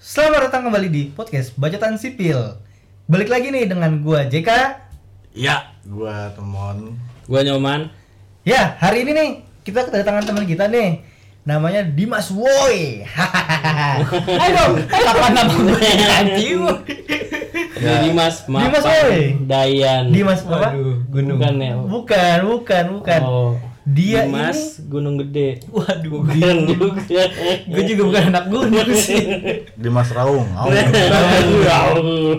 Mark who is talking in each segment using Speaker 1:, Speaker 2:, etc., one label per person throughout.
Speaker 1: Selamat datang kembali di podcast Bacotan Sipil. Balik lagi nih dengan gua JK.
Speaker 2: Ya,
Speaker 3: gua temon
Speaker 2: gua nyoman.
Speaker 1: Ya, hari ini nih kita kedatangan teman kita nih. Namanya Dimas Woi. Ayo dong, apa nama
Speaker 2: Ya. Dimas, maaf.
Speaker 1: Dimas, woi.
Speaker 2: Dayan.
Speaker 1: Dimas apa?
Speaker 2: gunung. Bukan ya.
Speaker 1: Bukan, bukan, bukan.
Speaker 2: Oh.
Speaker 1: Dia
Speaker 2: Dimas Gunung Gede.
Speaker 1: Waduh,
Speaker 2: Bukan juga.
Speaker 1: ini gue juga bukan anak gunung sih.
Speaker 3: Dimas Raung. Aung.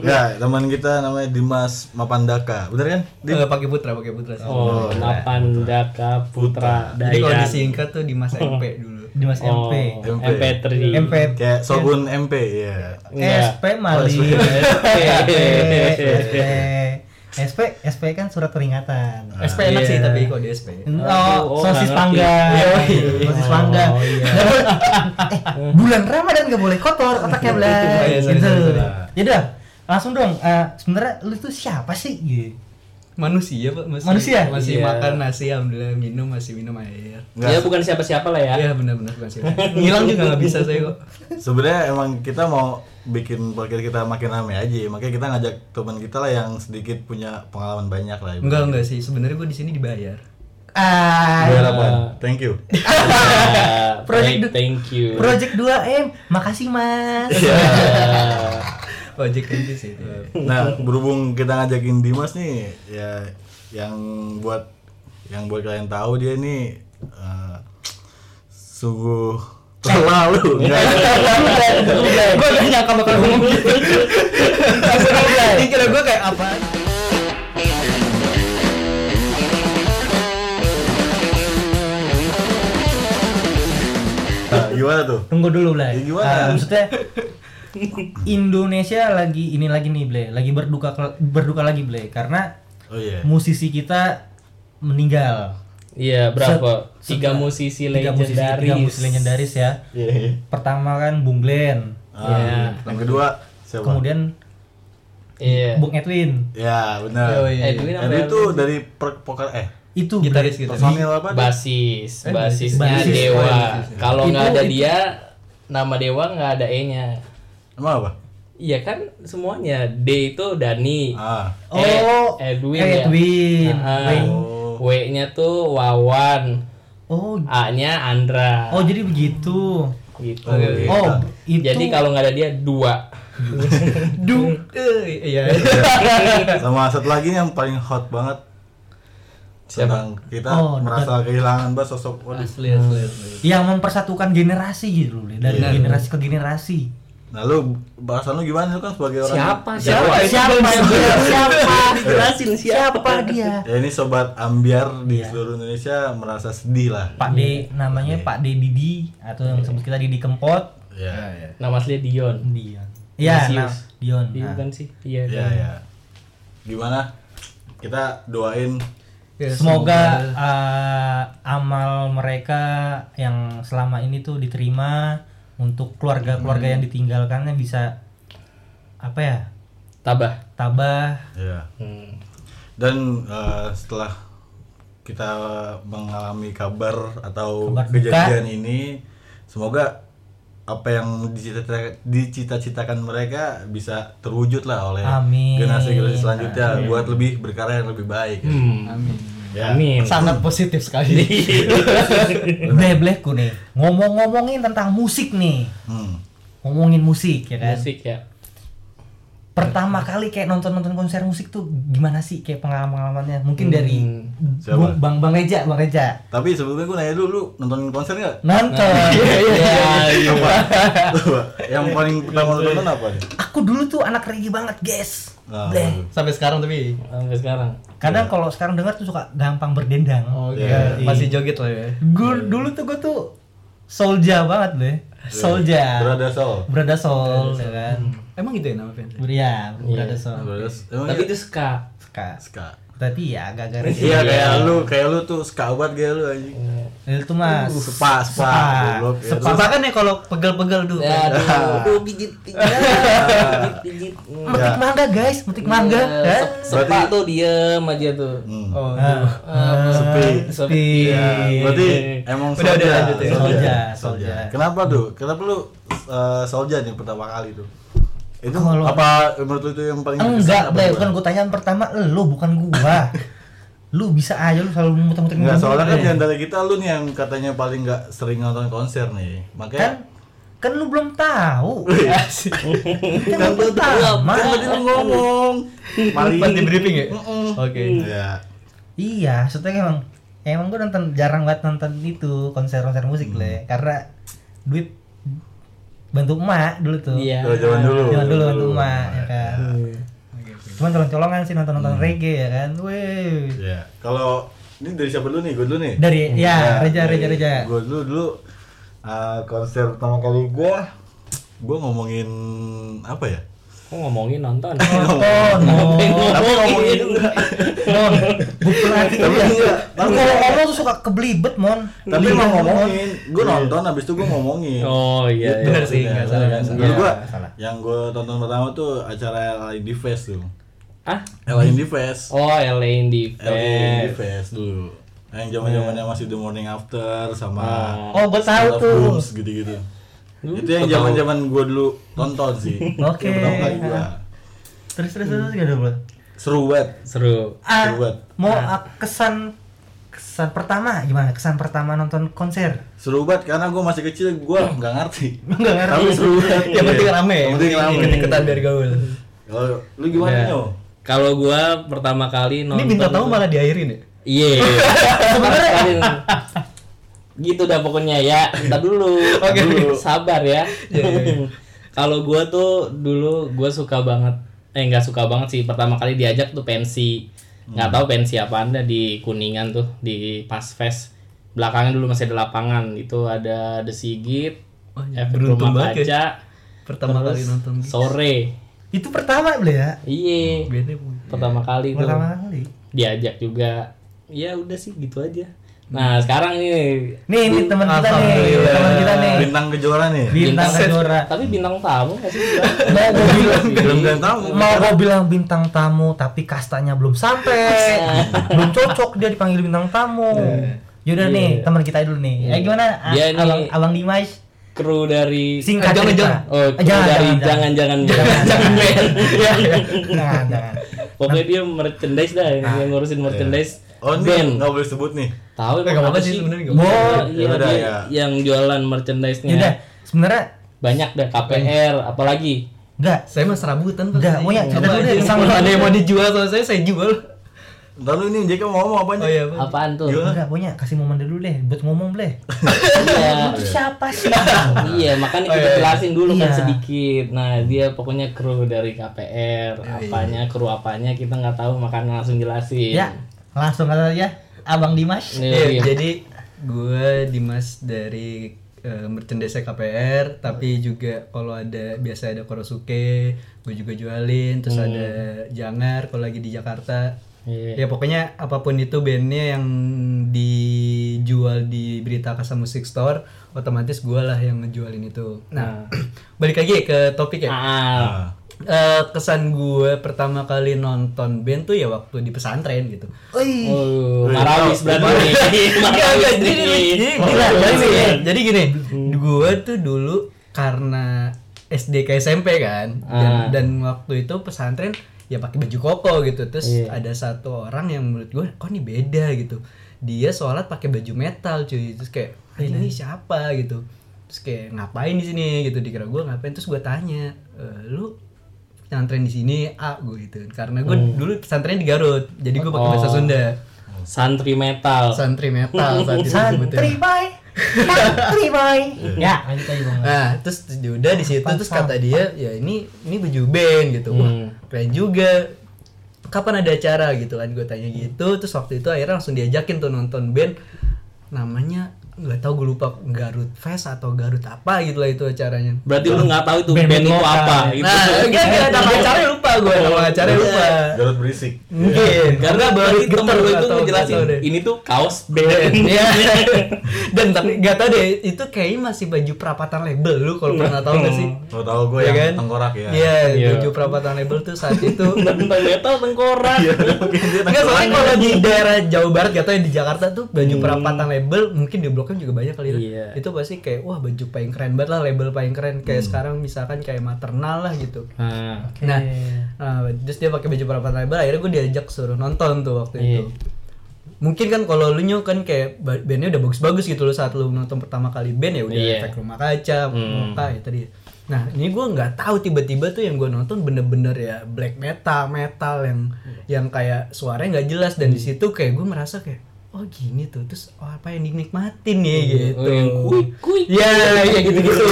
Speaker 3: ya, teman kita namanya Dimas Mapandaka. Bener kan? Dim?
Speaker 4: Enggak pakai putra, pakai putra sih.
Speaker 2: Oh,
Speaker 1: Nah,
Speaker 2: Mapandaka Putra
Speaker 4: Jadi kalau
Speaker 2: Dayan.
Speaker 4: disingkat tuh Dimas MP dulu.
Speaker 1: Dimas
Speaker 2: Oh,
Speaker 1: MP.
Speaker 3: MP.
Speaker 2: MP3.
Speaker 1: MP.
Speaker 3: Kayak
Speaker 4: Iya.
Speaker 3: Sogun MP ya.
Speaker 2: Enggak.
Speaker 1: SP Mali.
Speaker 3: Oh,
Speaker 1: SP.
Speaker 2: SP.
Speaker 1: SP SP kan surat peringatan.
Speaker 4: SP enak sih,
Speaker 2: Iya.
Speaker 4: tapi kok di SP.
Speaker 1: Oh,
Speaker 2: oh,
Speaker 1: sosis
Speaker 2: nggak
Speaker 1: panggang.
Speaker 2: ngerti.
Speaker 1: Iya, Sosis
Speaker 2: Oh,
Speaker 1: panggang.
Speaker 2: iya.
Speaker 1: Eh, bulan Ramadan gak boleh kotor otaknya
Speaker 4: Oh,
Speaker 1: belai.
Speaker 4: iya, sorry,
Speaker 1: Gitu.
Speaker 4: sorry, sorry.
Speaker 1: Yaudah, langsung dong. Eh, sebenarnya lu tuh siapa sih? Gitu.
Speaker 4: Manusia, Pak, masih
Speaker 1: Manusia?
Speaker 4: masih
Speaker 2: Iya.
Speaker 4: makan nasi alhamdulillah, minum masih minum air.
Speaker 2: Ya bukan siapa-siapa lah ya.
Speaker 4: Iya, benar-benar bukan sih. Ngilang juga nggak bisa saya kok.
Speaker 3: Sebenarnya emang kita mau bikin podcast kita makin rame aja. Makanya kita ngajak teman kita lah yang sedikit punya pengalaman banyak lah.
Speaker 4: Enggak, enggak sih. Sebenarnya gue di sini dibayar.
Speaker 1: Ah,
Speaker 3: Biar apaan?
Speaker 4: Iya.
Speaker 3: Thank you.
Speaker 2: Ah,
Speaker 1: Project
Speaker 2: baik,
Speaker 1: du-
Speaker 2: thank you.
Speaker 1: Project 2M. Makasih, Mas.
Speaker 4: Iya.
Speaker 2: Ah.
Speaker 4: Ojek aja sih itu.
Speaker 3: Nah, berhubung kita ngajakin Dimas nih, ya yang buat yang buat kalian tahu dia nih eh, sungguh terlalu
Speaker 2: Iya.
Speaker 3: enggak.
Speaker 1: Gue udah nyangka bakal ngomong gitu.
Speaker 4: Ini kira gue kayak apa?
Speaker 3: Nah, gimana tuh?
Speaker 1: Tunggu dulu, Blay.
Speaker 3: Ya, gimana?
Speaker 1: Ah, maksudnya Indonesia lagi ini lagi nih, Blay. Lagi berduka kel- berduka lagi, Blay. Karena
Speaker 3: Oh iya.
Speaker 1: musisi kita meninggal.
Speaker 2: Iya, berapa?
Speaker 1: Set- set-
Speaker 2: Tiga musisi
Speaker 1: Tiga musisi-
Speaker 2: legendaris.
Speaker 1: Tiga musisi legendaris ya.
Speaker 3: Iya, iya.
Speaker 1: Pertama kan Bung Glenn,
Speaker 3: Ah,
Speaker 2: Iya.
Speaker 3: Yang kedua siapa?
Speaker 1: kemudian
Speaker 2: Iya.
Speaker 1: Bung Edwin.
Speaker 3: Ya, benar.
Speaker 4: Oh, iya.
Speaker 2: Edwin apa Iya,
Speaker 3: Jadi
Speaker 2: ya?
Speaker 3: Nah, itu dari per poker eh
Speaker 1: Itu
Speaker 4: Gitaris
Speaker 1: Blay.
Speaker 4: gitu.
Speaker 3: personil apa? tuh?
Speaker 2: basis basisnya
Speaker 1: basis.
Speaker 2: dewa
Speaker 4: Oh, basis.
Speaker 2: kalau
Speaker 1: Itu-
Speaker 2: nggak ada
Speaker 1: itu-
Speaker 2: dia nama dewa nggak ada e nya
Speaker 3: Emang apa?
Speaker 2: iya kan semuanya d itu dani
Speaker 3: Ah.
Speaker 2: E,
Speaker 1: Oh,
Speaker 2: Edwin,
Speaker 1: Edwin.
Speaker 2: ya Ah,
Speaker 1: Wing.
Speaker 3: Oh.
Speaker 2: w nya tuh wawan
Speaker 1: Oh,
Speaker 2: a nya andra
Speaker 1: oh jadi begitu.
Speaker 2: gitu
Speaker 3: Oke.
Speaker 1: Oh, itu
Speaker 2: jadi kalau nggak ada dia dua
Speaker 4: Du, eh, iya.
Speaker 3: Sama satu lagi nih yang paling hot banget
Speaker 2: siapa
Speaker 3: tentang kita
Speaker 1: Oh,
Speaker 3: merasa kehilangan bah sosok waduh.
Speaker 4: Asli, asli, asli.
Speaker 1: yang mempersatukan generasi gitu loh, Blay. dari
Speaker 3: Iya.
Speaker 1: generasi ke generasi.
Speaker 3: Nah lu bahasan lu gimana lu kan sebagai orang
Speaker 2: siapa
Speaker 1: Siapa?
Speaker 2: siapa
Speaker 1: Siapa? Siapa? Siapa?
Speaker 2: jelasin siapa
Speaker 1: Siapa dia?
Speaker 3: Ya ini sobat ambiar di
Speaker 1: Iya.
Speaker 3: seluruh Indonesia merasa sedih lah.
Speaker 1: Pak D namanya Pak D Didi atau yang disebut kita Didi Kempot Iya,
Speaker 3: Ya.
Speaker 2: nama aslinya Dion
Speaker 1: Dion. Iya,
Speaker 2: Lucius.
Speaker 1: nah, Dion.
Speaker 2: Dion
Speaker 1: Nah,
Speaker 2: kan sih iya
Speaker 3: Ya
Speaker 2: kan.
Speaker 3: ya. Gimana? Kita doain
Speaker 4: Ya,
Speaker 1: Semoga eh, amal mereka yang selama ini tuh diterima untuk keluarga-keluarga yang ditinggalkannya bisa apa ya?
Speaker 2: tabah
Speaker 1: Tabah.
Speaker 3: ya.
Speaker 2: Hmm.
Speaker 3: Dan eh, setelah kita mengalami kabar atau
Speaker 1: Kabar duka.
Speaker 3: kejadian ini, semoga apa yang dicita- dicita-citakan mereka bisa terwujud lah oleh
Speaker 1: Amin. Hmm.
Speaker 3: generasi-generasi selanjutnya buat lebih berkarya yang lebih baik. ya.
Speaker 4: Amin.
Speaker 3: Ya.
Speaker 2: Hmm. amin
Speaker 4: Sangat positif sekali.
Speaker 1: Bleblehku nih. Ngomong-ngomongin tentang musik nih.
Speaker 3: Hmm.
Speaker 1: Ngomongin musik ya kan.
Speaker 2: musik ya
Speaker 1: Pertama kali kayak nonton-nonton konser musik tuh gimana sih kayak pengalaman-pengalamannya? Mungkin dari
Speaker 3: Hmm, Siapa?
Speaker 1: Bung- Bang Bang Reja, Bang Reja.
Speaker 3: Tapi sebelumnya gue nanya dulu, lu nonton konser nggak? Nah, iya,
Speaker 1: Nonton.
Speaker 2: Ya,
Speaker 3: Coba, yang paling pertama lu nonton apa nih?
Speaker 1: Aku dulu tuh anak reggae banget, guys.
Speaker 3: Nah,
Speaker 1: Bleh.
Speaker 3: waduh.
Speaker 4: Sampai sekarang tapi.
Speaker 2: sampai sekarang
Speaker 1: Kadang kalau sekarang dengar tuh suka gampang berdendang.
Speaker 4: Oke,
Speaker 3: Iya.
Speaker 4: ya, masih joget lah ya.
Speaker 1: Gua dulu tuh gue tuh solja banget deh. Solja.
Speaker 3: Berada Iya. Sol. Hmm. Iya,
Speaker 1: Berada sol, ya kan.
Speaker 4: Emang gitu ya nama fansnya?
Speaker 1: Ber- Ya, berada sol.
Speaker 2: Oh,
Speaker 3: Berada Sol. Emang
Speaker 2: tapi
Speaker 3: iya?
Speaker 2: itu ska
Speaker 1: Suka.
Speaker 3: Ska.
Speaker 1: tapi ya agak-agak
Speaker 3: Iya kayak lu, kayak lu tuh sekabat kayak lu anjing.
Speaker 2: Iya,
Speaker 1: itu mah
Speaker 3: Spa, spa, Uh, goblok, ya.
Speaker 1: Spa bahkan ya kalau pegel-pegel dulu
Speaker 2: Ya, aduh, aduh, pijit, pijit, pijit, pijit.
Speaker 3: Ya.
Speaker 2: Hmm.
Speaker 1: metik mangga guys metik mangga
Speaker 2: Ya,
Speaker 1: kan?
Speaker 2: se- sepak
Speaker 3: Berarti-
Speaker 2: tuh diem aja tuh.
Speaker 3: Hmm.
Speaker 4: Oh,
Speaker 1: Ah, ah,
Speaker 3: Sepi.
Speaker 1: sepi
Speaker 3: Iya, berarti emang
Speaker 4: Udah, udah, lanjut ya.
Speaker 1: Solja,
Speaker 3: Solja.
Speaker 1: solja.
Speaker 3: Kenapa tuh? Kenapa lu eh, solja nih pertama kali tuh? Itu
Speaker 1: Kalau-
Speaker 3: apa menurut lu itu yang paling berkesan
Speaker 1: enggak
Speaker 3: apa
Speaker 1: deh
Speaker 3: gimana?
Speaker 1: kan gue tanya yang pertama lu bukan gua lu bisa aja lu selalu muter-muter ngomong.
Speaker 3: Enggak, soalnya kan di antara kita lu nih yang katanya paling nggak sering nonton konser nih.
Speaker 1: kan
Speaker 3: Makanya
Speaker 1: kan lu belum tahu
Speaker 3: Iya.
Speaker 1: kan yang
Speaker 2: Belum tahu.
Speaker 1: pertama
Speaker 3: kan tadi lu ngomong. Mari.
Speaker 4: Pas di briefing ya?
Speaker 3: Mm-mm.
Speaker 4: Oke.
Speaker 3: Iya.
Speaker 1: iya maksudnya emang emang gue nonton jarang banget nonton itu konser-konser
Speaker 3: Hmm.
Speaker 1: musik le karena duit bantu emak dulu tuh
Speaker 2: Iya.
Speaker 3: Tuh, zaman dulu. Iya.
Speaker 1: Zaman dulu
Speaker 3: zaman
Speaker 1: bantu emak ya kan cuman colong-colongan sih nonton-nonton
Speaker 3: Hmm.
Speaker 1: reggae ya kan weh
Speaker 3: Iya. Kalau ini dari siapa dulu nih? Gue dulu nih.
Speaker 1: dari
Speaker 3: Iya,
Speaker 1: ya reja reja reja
Speaker 3: Gue dulu dulu eh, konser pertama kali gue gue ngomongin apa ya?
Speaker 2: Kok ngomongin nonton?
Speaker 1: Oh. nonton nonton
Speaker 3: Tapi ngomongin enggak.
Speaker 1: Mon, bukan hati
Speaker 3: Tapi
Speaker 1: ya.
Speaker 3: enggak,
Speaker 1: Lu
Speaker 3: tapi-
Speaker 1: kalau ngomong tuh suka kebelibet, Mon.
Speaker 3: Tapi
Speaker 1: Belibet,
Speaker 3: emang
Speaker 1: Mon.
Speaker 3: ngomongin, gue nonton habis itu gue ngomongin.
Speaker 2: Oh iya, iya.
Speaker 4: Bener sih, nggak salah, nggak
Speaker 3: Dulu
Speaker 4: salah.
Speaker 3: gua
Speaker 1: Iya, salah.
Speaker 3: yang gua tonton pertama tuh acara LA Indie Fest tuh.
Speaker 2: Ah?
Speaker 3: LA Indie Fest.
Speaker 2: Oh, LA Indie
Speaker 3: LA Indie
Speaker 2: Fest.
Speaker 3: Fest dulu. Yang zaman-zamannya masih The Morning After sama
Speaker 2: Ah.
Speaker 1: Oh, gue tahu
Speaker 3: Love
Speaker 1: tuh.
Speaker 3: Booms gitu-gitu. Itu yang
Speaker 2: Tahu.
Speaker 3: zaman-zaman gua dulu tonton sih.
Speaker 1: Oke.
Speaker 3: Yang pertama kali gua.
Speaker 1: Terus terus terus gak ada Mon?
Speaker 3: Seru banget.
Speaker 2: Seru.
Speaker 1: Ah,
Speaker 3: Seru banget. Nah.
Speaker 1: mau ah, kesan kesan pertama gimana? Kesan pertama nonton konser.
Speaker 3: Seru banget karena gua masih kecil gua nggak ngerti.
Speaker 1: Enggak ngerti.
Speaker 3: Tapi seru banget.
Speaker 4: Yang penting rame.
Speaker 3: Iya. Yang penting rame.
Speaker 4: Ikut-ikutan biar gaul.
Speaker 3: Kalau lu gimana
Speaker 2: Udah.
Speaker 3: Nyo?
Speaker 2: Kalau gua pertama kali
Speaker 4: Ini
Speaker 2: nonton
Speaker 4: bintang
Speaker 2: tuh-
Speaker 4: tamu malah diakhirin ya?
Speaker 2: Iya. Sebenarnya gitu dah pokoknya ya. Entar dulu. Dulu. Sabar ya.
Speaker 4: Iya,
Speaker 2: Kalau gua tuh dulu gua suka banget eh nggak suka banget sih pertama kali diajak tuh pensi nggak
Speaker 4: Hmm.
Speaker 2: tahu pensi apa anda di kuningan tuh di pas fest belakangnya dulu masih ada lapangan itu ada the sigit
Speaker 4: Wah,
Speaker 2: efek
Speaker 4: beruntung
Speaker 2: rumah
Speaker 4: banget ya.
Speaker 2: kaca
Speaker 4: Pertama
Speaker 2: terus
Speaker 4: kali nonton. Hmm,
Speaker 2: sore
Speaker 1: Itu pertama beli ya.
Speaker 2: iya
Speaker 4: Bandnya pun.
Speaker 2: pertama kali tuh
Speaker 1: Pertama kali.
Speaker 2: diajak juga ya udah sih gitu aja nah sekarang nih
Speaker 1: Nih, ini teman kita nih,
Speaker 4: Alhamdulillah.
Speaker 1: teman kita nih.
Speaker 3: Bintang kejora nih.
Speaker 1: Bintang
Speaker 2: Set.
Speaker 1: Kejora.
Speaker 2: tapi bintang tamu nggak sih
Speaker 1: Mau gue bilang
Speaker 3: Belum dan tamu.
Speaker 1: mau gue bilang bintang tamu tapi kastanya belum sampai belum cocok dia dipanggil bintang tamu yaudah nih teman kita dulu nih ya gimana A-
Speaker 2: Dia
Speaker 1: abang
Speaker 2: nih-
Speaker 1: abang Dimas
Speaker 2: kru dari
Speaker 1: singkat
Speaker 4: Jangan,
Speaker 1: cerita
Speaker 4: jangan.
Speaker 2: oh
Speaker 1: Eh,
Speaker 2: kru dari jangan jangan jangan Iya.
Speaker 1: jangan Iya, jangan jangan
Speaker 2: pokoknya dia merchandise dah yang yang ngurusin merchandise
Speaker 3: Oh, ini
Speaker 2: band
Speaker 3: nggak boleh sebut nih.
Speaker 2: tahu
Speaker 4: Nggak apa-apa sih sebenarnya nggak
Speaker 1: Bo-
Speaker 2: Oh,
Speaker 3: Ya
Speaker 2: iya,
Speaker 3: udah,
Speaker 2: dia
Speaker 3: ya.
Speaker 2: yang jualan merchandise nya
Speaker 1: yaudah sebenarnya
Speaker 2: banyak dah KPR apalagi
Speaker 1: enggak
Speaker 4: Saya mah serabutan Pak.
Speaker 1: Enggak, mau ya, cerita
Speaker 4: Apa
Speaker 1: dulu
Speaker 4: aja
Speaker 1: deh,
Speaker 4: sih?
Speaker 1: sama-
Speaker 4: Kalau ada yang mau dijual sama saya, saya jual.
Speaker 3: Ntar lu ini JK mau ngomong apa
Speaker 4: Oh iya, Pak.
Speaker 2: apaan tuh
Speaker 3: Jualan.
Speaker 1: enggak punya kasih momen dulu deh buat ngomong deh
Speaker 2: iya
Speaker 1: itu siapa sih
Speaker 2: iya makanya
Speaker 4: Oh,
Speaker 2: kita
Speaker 4: iya, iya.
Speaker 2: jelasin dulu kan
Speaker 1: Iya.
Speaker 2: sedikit nah dia pokoknya kru dari
Speaker 4: Iya,
Speaker 2: KPR apanya kru apanya kita nggak tahu makanya langsung jelasin
Speaker 1: ya langsung kata aja abang Dimas
Speaker 2: Iya, iya.
Speaker 4: Iya, jadi gue Dimas dari eh, merchandise KPR tapi juga kalau ada biasa ada korosuke gue juga jualin terus ada jangar kalau lagi di Jakarta
Speaker 2: Iya.
Speaker 4: ya pokoknya apapun itu bandnya yang dijual di berita kasa musik store otomatis gue lah yang ngejualin itu nah balik lagi ke topik ya
Speaker 2: Ah,
Speaker 4: Eh, kesan gue pertama kali nonton band tuh ya waktu di pesantren gitu
Speaker 1: Oi,
Speaker 2: oh,
Speaker 4: Iya.
Speaker 2: Marawis berarti.
Speaker 4: Enggak,
Speaker 2: Iya,
Speaker 4: enggak, jadi jadi gila, jadi gini, jadi gini, gue tuh dulu karena SD ke SMP kan,
Speaker 2: Ah.
Speaker 4: dan, dan waktu itu pesantren ya pakai baju koko gitu, terus
Speaker 2: Iya.
Speaker 4: ada satu orang yang menurut gue, kok ini beda gitu, dia sholat pakai baju metal cuy, terus kayak "Ah, ini siapa gitu, terus kayak ngapain di sini gitu, dikira gue ngapain, terus gue tanya, "E, lu pesantren di sini A gue gitu, karena gue dulu pesantren di Garut, jadi gue pakai
Speaker 2: Hmm.
Speaker 4: bahasa
Speaker 2: Oh.
Speaker 4: Sunda,
Speaker 2: Santri metal.
Speaker 4: santri metal saat itu disebutnya.
Speaker 1: santri bye santri bye
Speaker 2: Iya.
Speaker 1: ya lanjut aja bang
Speaker 4: Nah, terus udah di situ terus kata dia, ya ini ini baju band gitu. Wah, keren juga. Kapan ada acara gitu kan gue tanya gitu. Terus waktu itu akhirnya langsung diajakin tuh nonton band namanya nggak tahu gue lupa Garut Fest atau Garut apa gitu lah itu acaranya.
Speaker 2: Berarti lu nggak tahu itu
Speaker 1: Band
Speaker 2: band Nah, itu
Speaker 1: lokal.
Speaker 2: apa gitu.
Speaker 4: Nah, enggak enggak ada acaranya lupa lupa gue nama acaranya lupa.
Speaker 3: Garut berisik.
Speaker 4: Mungkin
Speaker 2: Karena baru temen
Speaker 4: getar
Speaker 2: lu itu
Speaker 4: atau
Speaker 2: ngejelasin
Speaker 4: nggak tahu deh.
Speaker 2: ini tuh kaos
Speaker 4: Ben.
Speaker 2: band.
Speaker 4: ya. Dan tapi gak tau deh, itu kayaknya masih baju perapatan label lu kalau pernah tahu
Speaker 2: Hmm.
Speaker 4: gak sih?
Speaker 3: Lo tau gue
Speaker 4: Iya
Speaker 3: yang
Speaker 4: kan?
Speaker 3: tengkorak ya.
Speaker 4: Iya,
Speaker 2: Iya.
Speaker 4: baju perapatan label tuh saat itu.
Speaker 2: Tentang metal tengkorak.
Speaker 4: Iya.
Speaker 3: Mungkin dia
Speaker 4: Enggak soalnya
Speaker 3: tengkorak.
Speaker 4: kalau di daerah Hmm. Jawa Barat gak tau yang di Jakarta tuh baju perapatan label mungkin di bloknya juga banyak kali ya.
Speaker 2: Iya.
Speaker 4: Itu pasti kayak wah baju paling keren banget lah label paling keren kayak sekarang misalkan kayak maternal lah gitu.
Speaker 2: Nah,
Speaker 4: Nah, nah, terus dia pakai baju perapatan label akhirnya gue diajak suruh nonton tuh waktu
Speaker 2: Iya.
Speaker 4: itu. Mungkin kan kalau lu nyu kan kayak ba- bandnya udah bagus-bagus gitu loh saat lu nonton pertama kali band ya udah
Speaker 2: Iya. Hmm.
Speaker 4: efek rumah kaca, muka ya tadi. Nah ini gue nggak tahu tiba-tiba tuh yang gue nonton bener-bener ya black metal, metal yang yang kayak suaranya nggak jelas dan di
Speaker 2: Hmm.
Speaker 4: situ kayak gue merasa kayak oh gini tuh terus oh, apa yang dinikmatin nih gitu.
Speaker 2: Oh, yang kuik, kuik.
Speaker 4: Ya, ya gitu-gitu.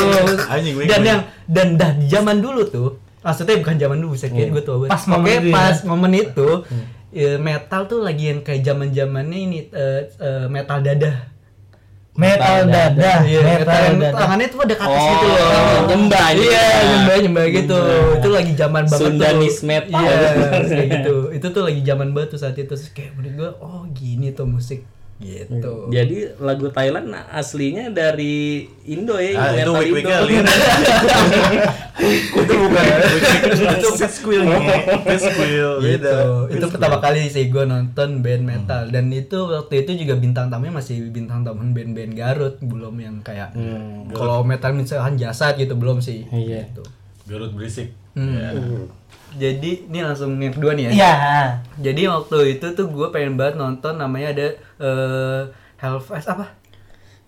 Speaker 3: Anjing, kuik,
Speaker 4: dan
Speaker 3: kuik.
Speaker 4: yang dan dah di zaman dulu tuh maksudnya bukan zaman dulu saya kira gue tua banget
Speaker 1: Pas momen
Speaker 4: Pokoknya
Speaker 1: itu ya.
Speaker 4: pas momen itu eh, metal tuh lagi yang kayak zaman zamannya ini eh, eh, metal dadah
Speaker 1: Metal dada,
Speaker 4: Iya, metal
Speaker 1: Ah, metal
Speaker 4: yang
Speaker 1: dada.
Speaker 4: tangannya tuh ada ke atas
Speaker 2: Oh,
Speaker 4: gitu loh
Speaker 2: nyembah, gitu kan.
Speaker 4: iya
Speaker 2: nyembah.
Speaker 4: nyembah nyembah gitu itu lagi zaman banget
Speaker 2: Sundanese
Speaker 4: tuh.
Speaker 2: metal.
Speaker 4: iya kayak gitu itu tuh lagi zaman banget tuh saat itu Terus kayak menurut gue oh gini tuh musik gitu
Speaker 2: Jadi lagu Thailand nah, aslinya dari Indo ya,
Speaker 3: Ah, itu
Speaker 2: metal
Speaker 3: week-weeknya
Speaker 2: Indo.
Speaker 3: lihat. Itu bukan week-week. Itu fast quill. Fast quill. Oh, Beda.
Speaker 4: Gitu. Itu pertama kali sih gue nonton band metal dan itu waktu itu juga bintang tamunya masih bintang tamu band-band Garut belum yang kayak kalau metal misalkan jasad gitu belum sih.
Speaker 2: Hmm. Iya.
Speaker 4: Gitu.
Speaker 3: Garut berisik. Ya.
Speaker 4: Hmm. Jadi ini langsung yang kedua nih ya.
Speaker 1: Iya.
Speaker 4: Jadi waktu itu tuh gue pengen banget nonton namanya ada eh Hellfest apa?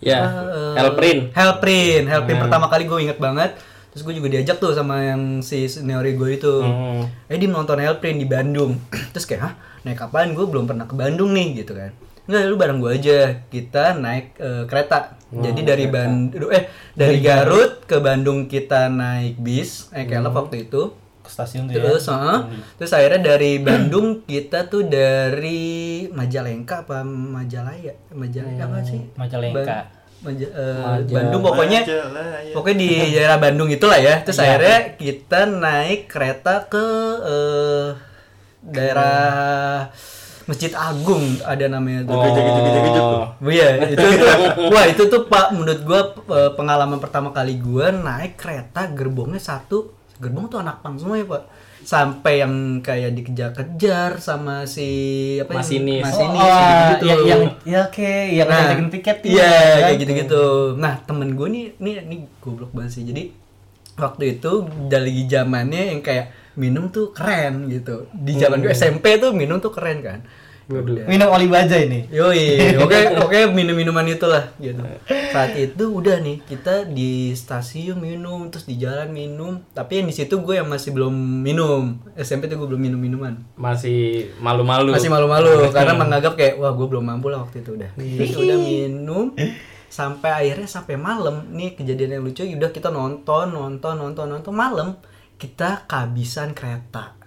Speaker 2: Ya,
Speaker 4: Eh,
Speaker 2: Elprin.
Speaker 4: Hellprint. Hellprint
Speaker 1: Nah.
Speaker 4: pertama kali gue inget banget. Terus gue juga diajak tuh sama yang si seniori gue itu.
Speaker 2: Hmm.
Speaker 4: Eh dia nonton Hellprint di Bandung. Terus kayak, hah naik kapan? Gue belum pernah ke Bandung nih gitu kan. Enggak, lu bareng gue aja. Kita naik eh, kereta.
Speaker 1: Oh,
Speaker 4: Jadi dari Bandung, eh dari Garut ke Bandung kita naik bis, naik kelep waktu itu.
Speaker 1: Hmm. Ke stasiun tuh ya.
Speaker 4: Terus, heeh. terus akhirnya dari Bandung kita tuh dari Majalengka apa Majalaya? Majalengka apa sih?
Speaker 1: Majalengka.
Speaker 4: Ba- Maja- eh, Bandung pokoknya pokoknya di daerah Bandung itulah ya. Terus
Speaker 2: Iya.
Speaker 4: akhirnya kita naik kereta ke eh, daerah Masjid Agung ada namanya tuh. Iya, itu tuh, wah itu tuh Pak menurut gua eh, pengalaman pertama kali gua naik kereta gerbongnya satu, gerbong tuh anak pang semua ya, Pak. Sampai yang kayak dikejar-kejar sama si apa yang-
Speaker 2: Masinis.
Speaker 4: Masinis
Speaker 1: Oh, ah,
Speaker 4: gitu-gitu.
Speaker 1: ya, yang ya oke, yang
Speaker 4: Nah,
Speaker 1: ngajakin tiket tuh,
Speaker 4: Iya,
Speaker 1: kan?
Speaker 4: kayak gitu-gitu. Nah, temen gue nih, nih, nih goblok banget sih. Jadi waktu itu dari zamannya yang kayak minum tuh keren gitu. Di zaman gue SMP tuh minum tuh keren kan. Udah.
Speaker 1: Minum oli baja ini.
Speaker 4: Yoi, oke oke minum-minuman itulah gitu. Saat itu udah nih kita di stasiun minum, terus di jalan minum. Tapi yang di situ gue yang masih belum minum. SMP tuh gue belum minum minuman.
Speaker 2: Masih malu-malu.
Speaker 4: Masih malu-malu karena menganggap kayak wah gue belum mampu lah waktu itu udah.
Speaker 2: Iya.
Speaker 4: Terus udah minum sampai akhirnya sampai malam nih kejadian yang lucu udah kita nonton nonton nonton nonton malam kita kehabisan kereta.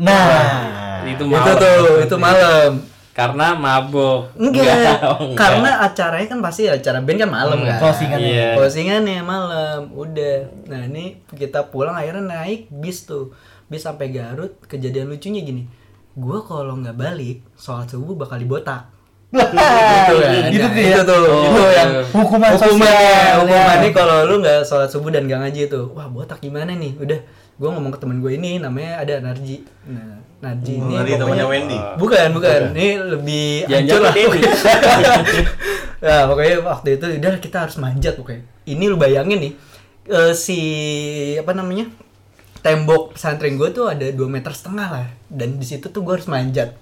Speaker 1: Nah,
Speaker 2: Itu
Speaker 4: Itu
Speaker 2: malam.
Speaker 4: tuh itu malam.
Speaker 2: Karena mabok.
Speaker 4: Enggak,
Speaker 2: enggak.
Speaker 4: karena acaranya kan pasti acara band kan malam kan.
Speaker 1: closingannya.
Speaker 2: Iya.
Speaker 4: Closingannya malam, udah. Nah ini kita pulang akhirnya naik bis tuh, bis sampai Garut. Kejadian lucunya gini, gua kalau nggak balik sholat subuh bakal dibotak.
Speaker 1: Lah, Itu
Speaker 4: kan? Nah,
Speaker 1: Nah. tuh ya.
Speaker 4: itu tuh, ya, itu yang
Speaker 1: Hukuman sosial. ya.
Speaker 4: hukumannya kalau lu nggak sholat subuh dan nggak ngaji tuh, wah botak gimana nih? Udah, gua ngomong ke temen gue ini, namanya ada Narji. Nah, Narji ini
Speaker 3: Tadi temannya
Speaker 4: pokoknya-
Speaker 3: Wendy.
Speaker 4: Bukan, bukan. Ini lebih hancur
Speaker 2: Jangan-jangan
Speaker 4: lah.
Speaker 2: Dewi.
Speaker 4: ya, pokoknya waktu itu udah kita harus manjat pokoknya. Ini lu bayangin nih eh, si apa namanya? Tembok pesantren gue tuh ada 2 meter setengah lah dan di situ tuh gue harus manjat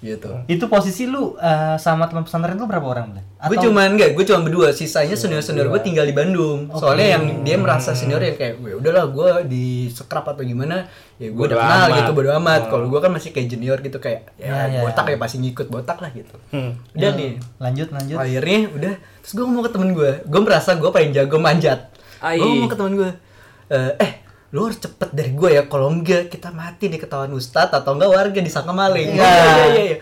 Speaker 4: gitu.
Speaker 1: Itu posisi lu eh, sama teman pesantren lu berapa orang, Eh, Bang?
Speaker 4: Gue cuman enggak, gue cuma berdua.
Speaker 2: Iya,
Speaker 4: Sisanya senior-senior gue tinggal di Bandung. Soalnya yang dia merasa senior yang kayak, "Ya udahlah gue di sekrap atau gimana, ya gue udah
Speaker 2: Bodo
Speaker 4: kenal
Speaker 2: amat." Oh. Iya,
Speaker 4: gitu bodo amat." Kalau gue kan masih kayak junior gitu kayak, ya,
Speaker 1: Ya, ya,
Speaker 4: botak ya pasti ngikut botak lah gitu.
Speaker 2: Hmm.
Speaker 4: Udah nih. iya.
Speaker 1: lanjut lanjut.
Speaker 4: Akhirnya udah, terus gue ngomong ke temen gue, gue merasa gue paling jago manjat.
Speaker 2: Ai.
Speaker 4: Gue ngomong ke temen gue, "Eh, eh lu harus cepet dari gue ya, kalau enggak kita mati di ketahuan ustadz atau enggak warga disangka maling. Iya, iya, iya, iya.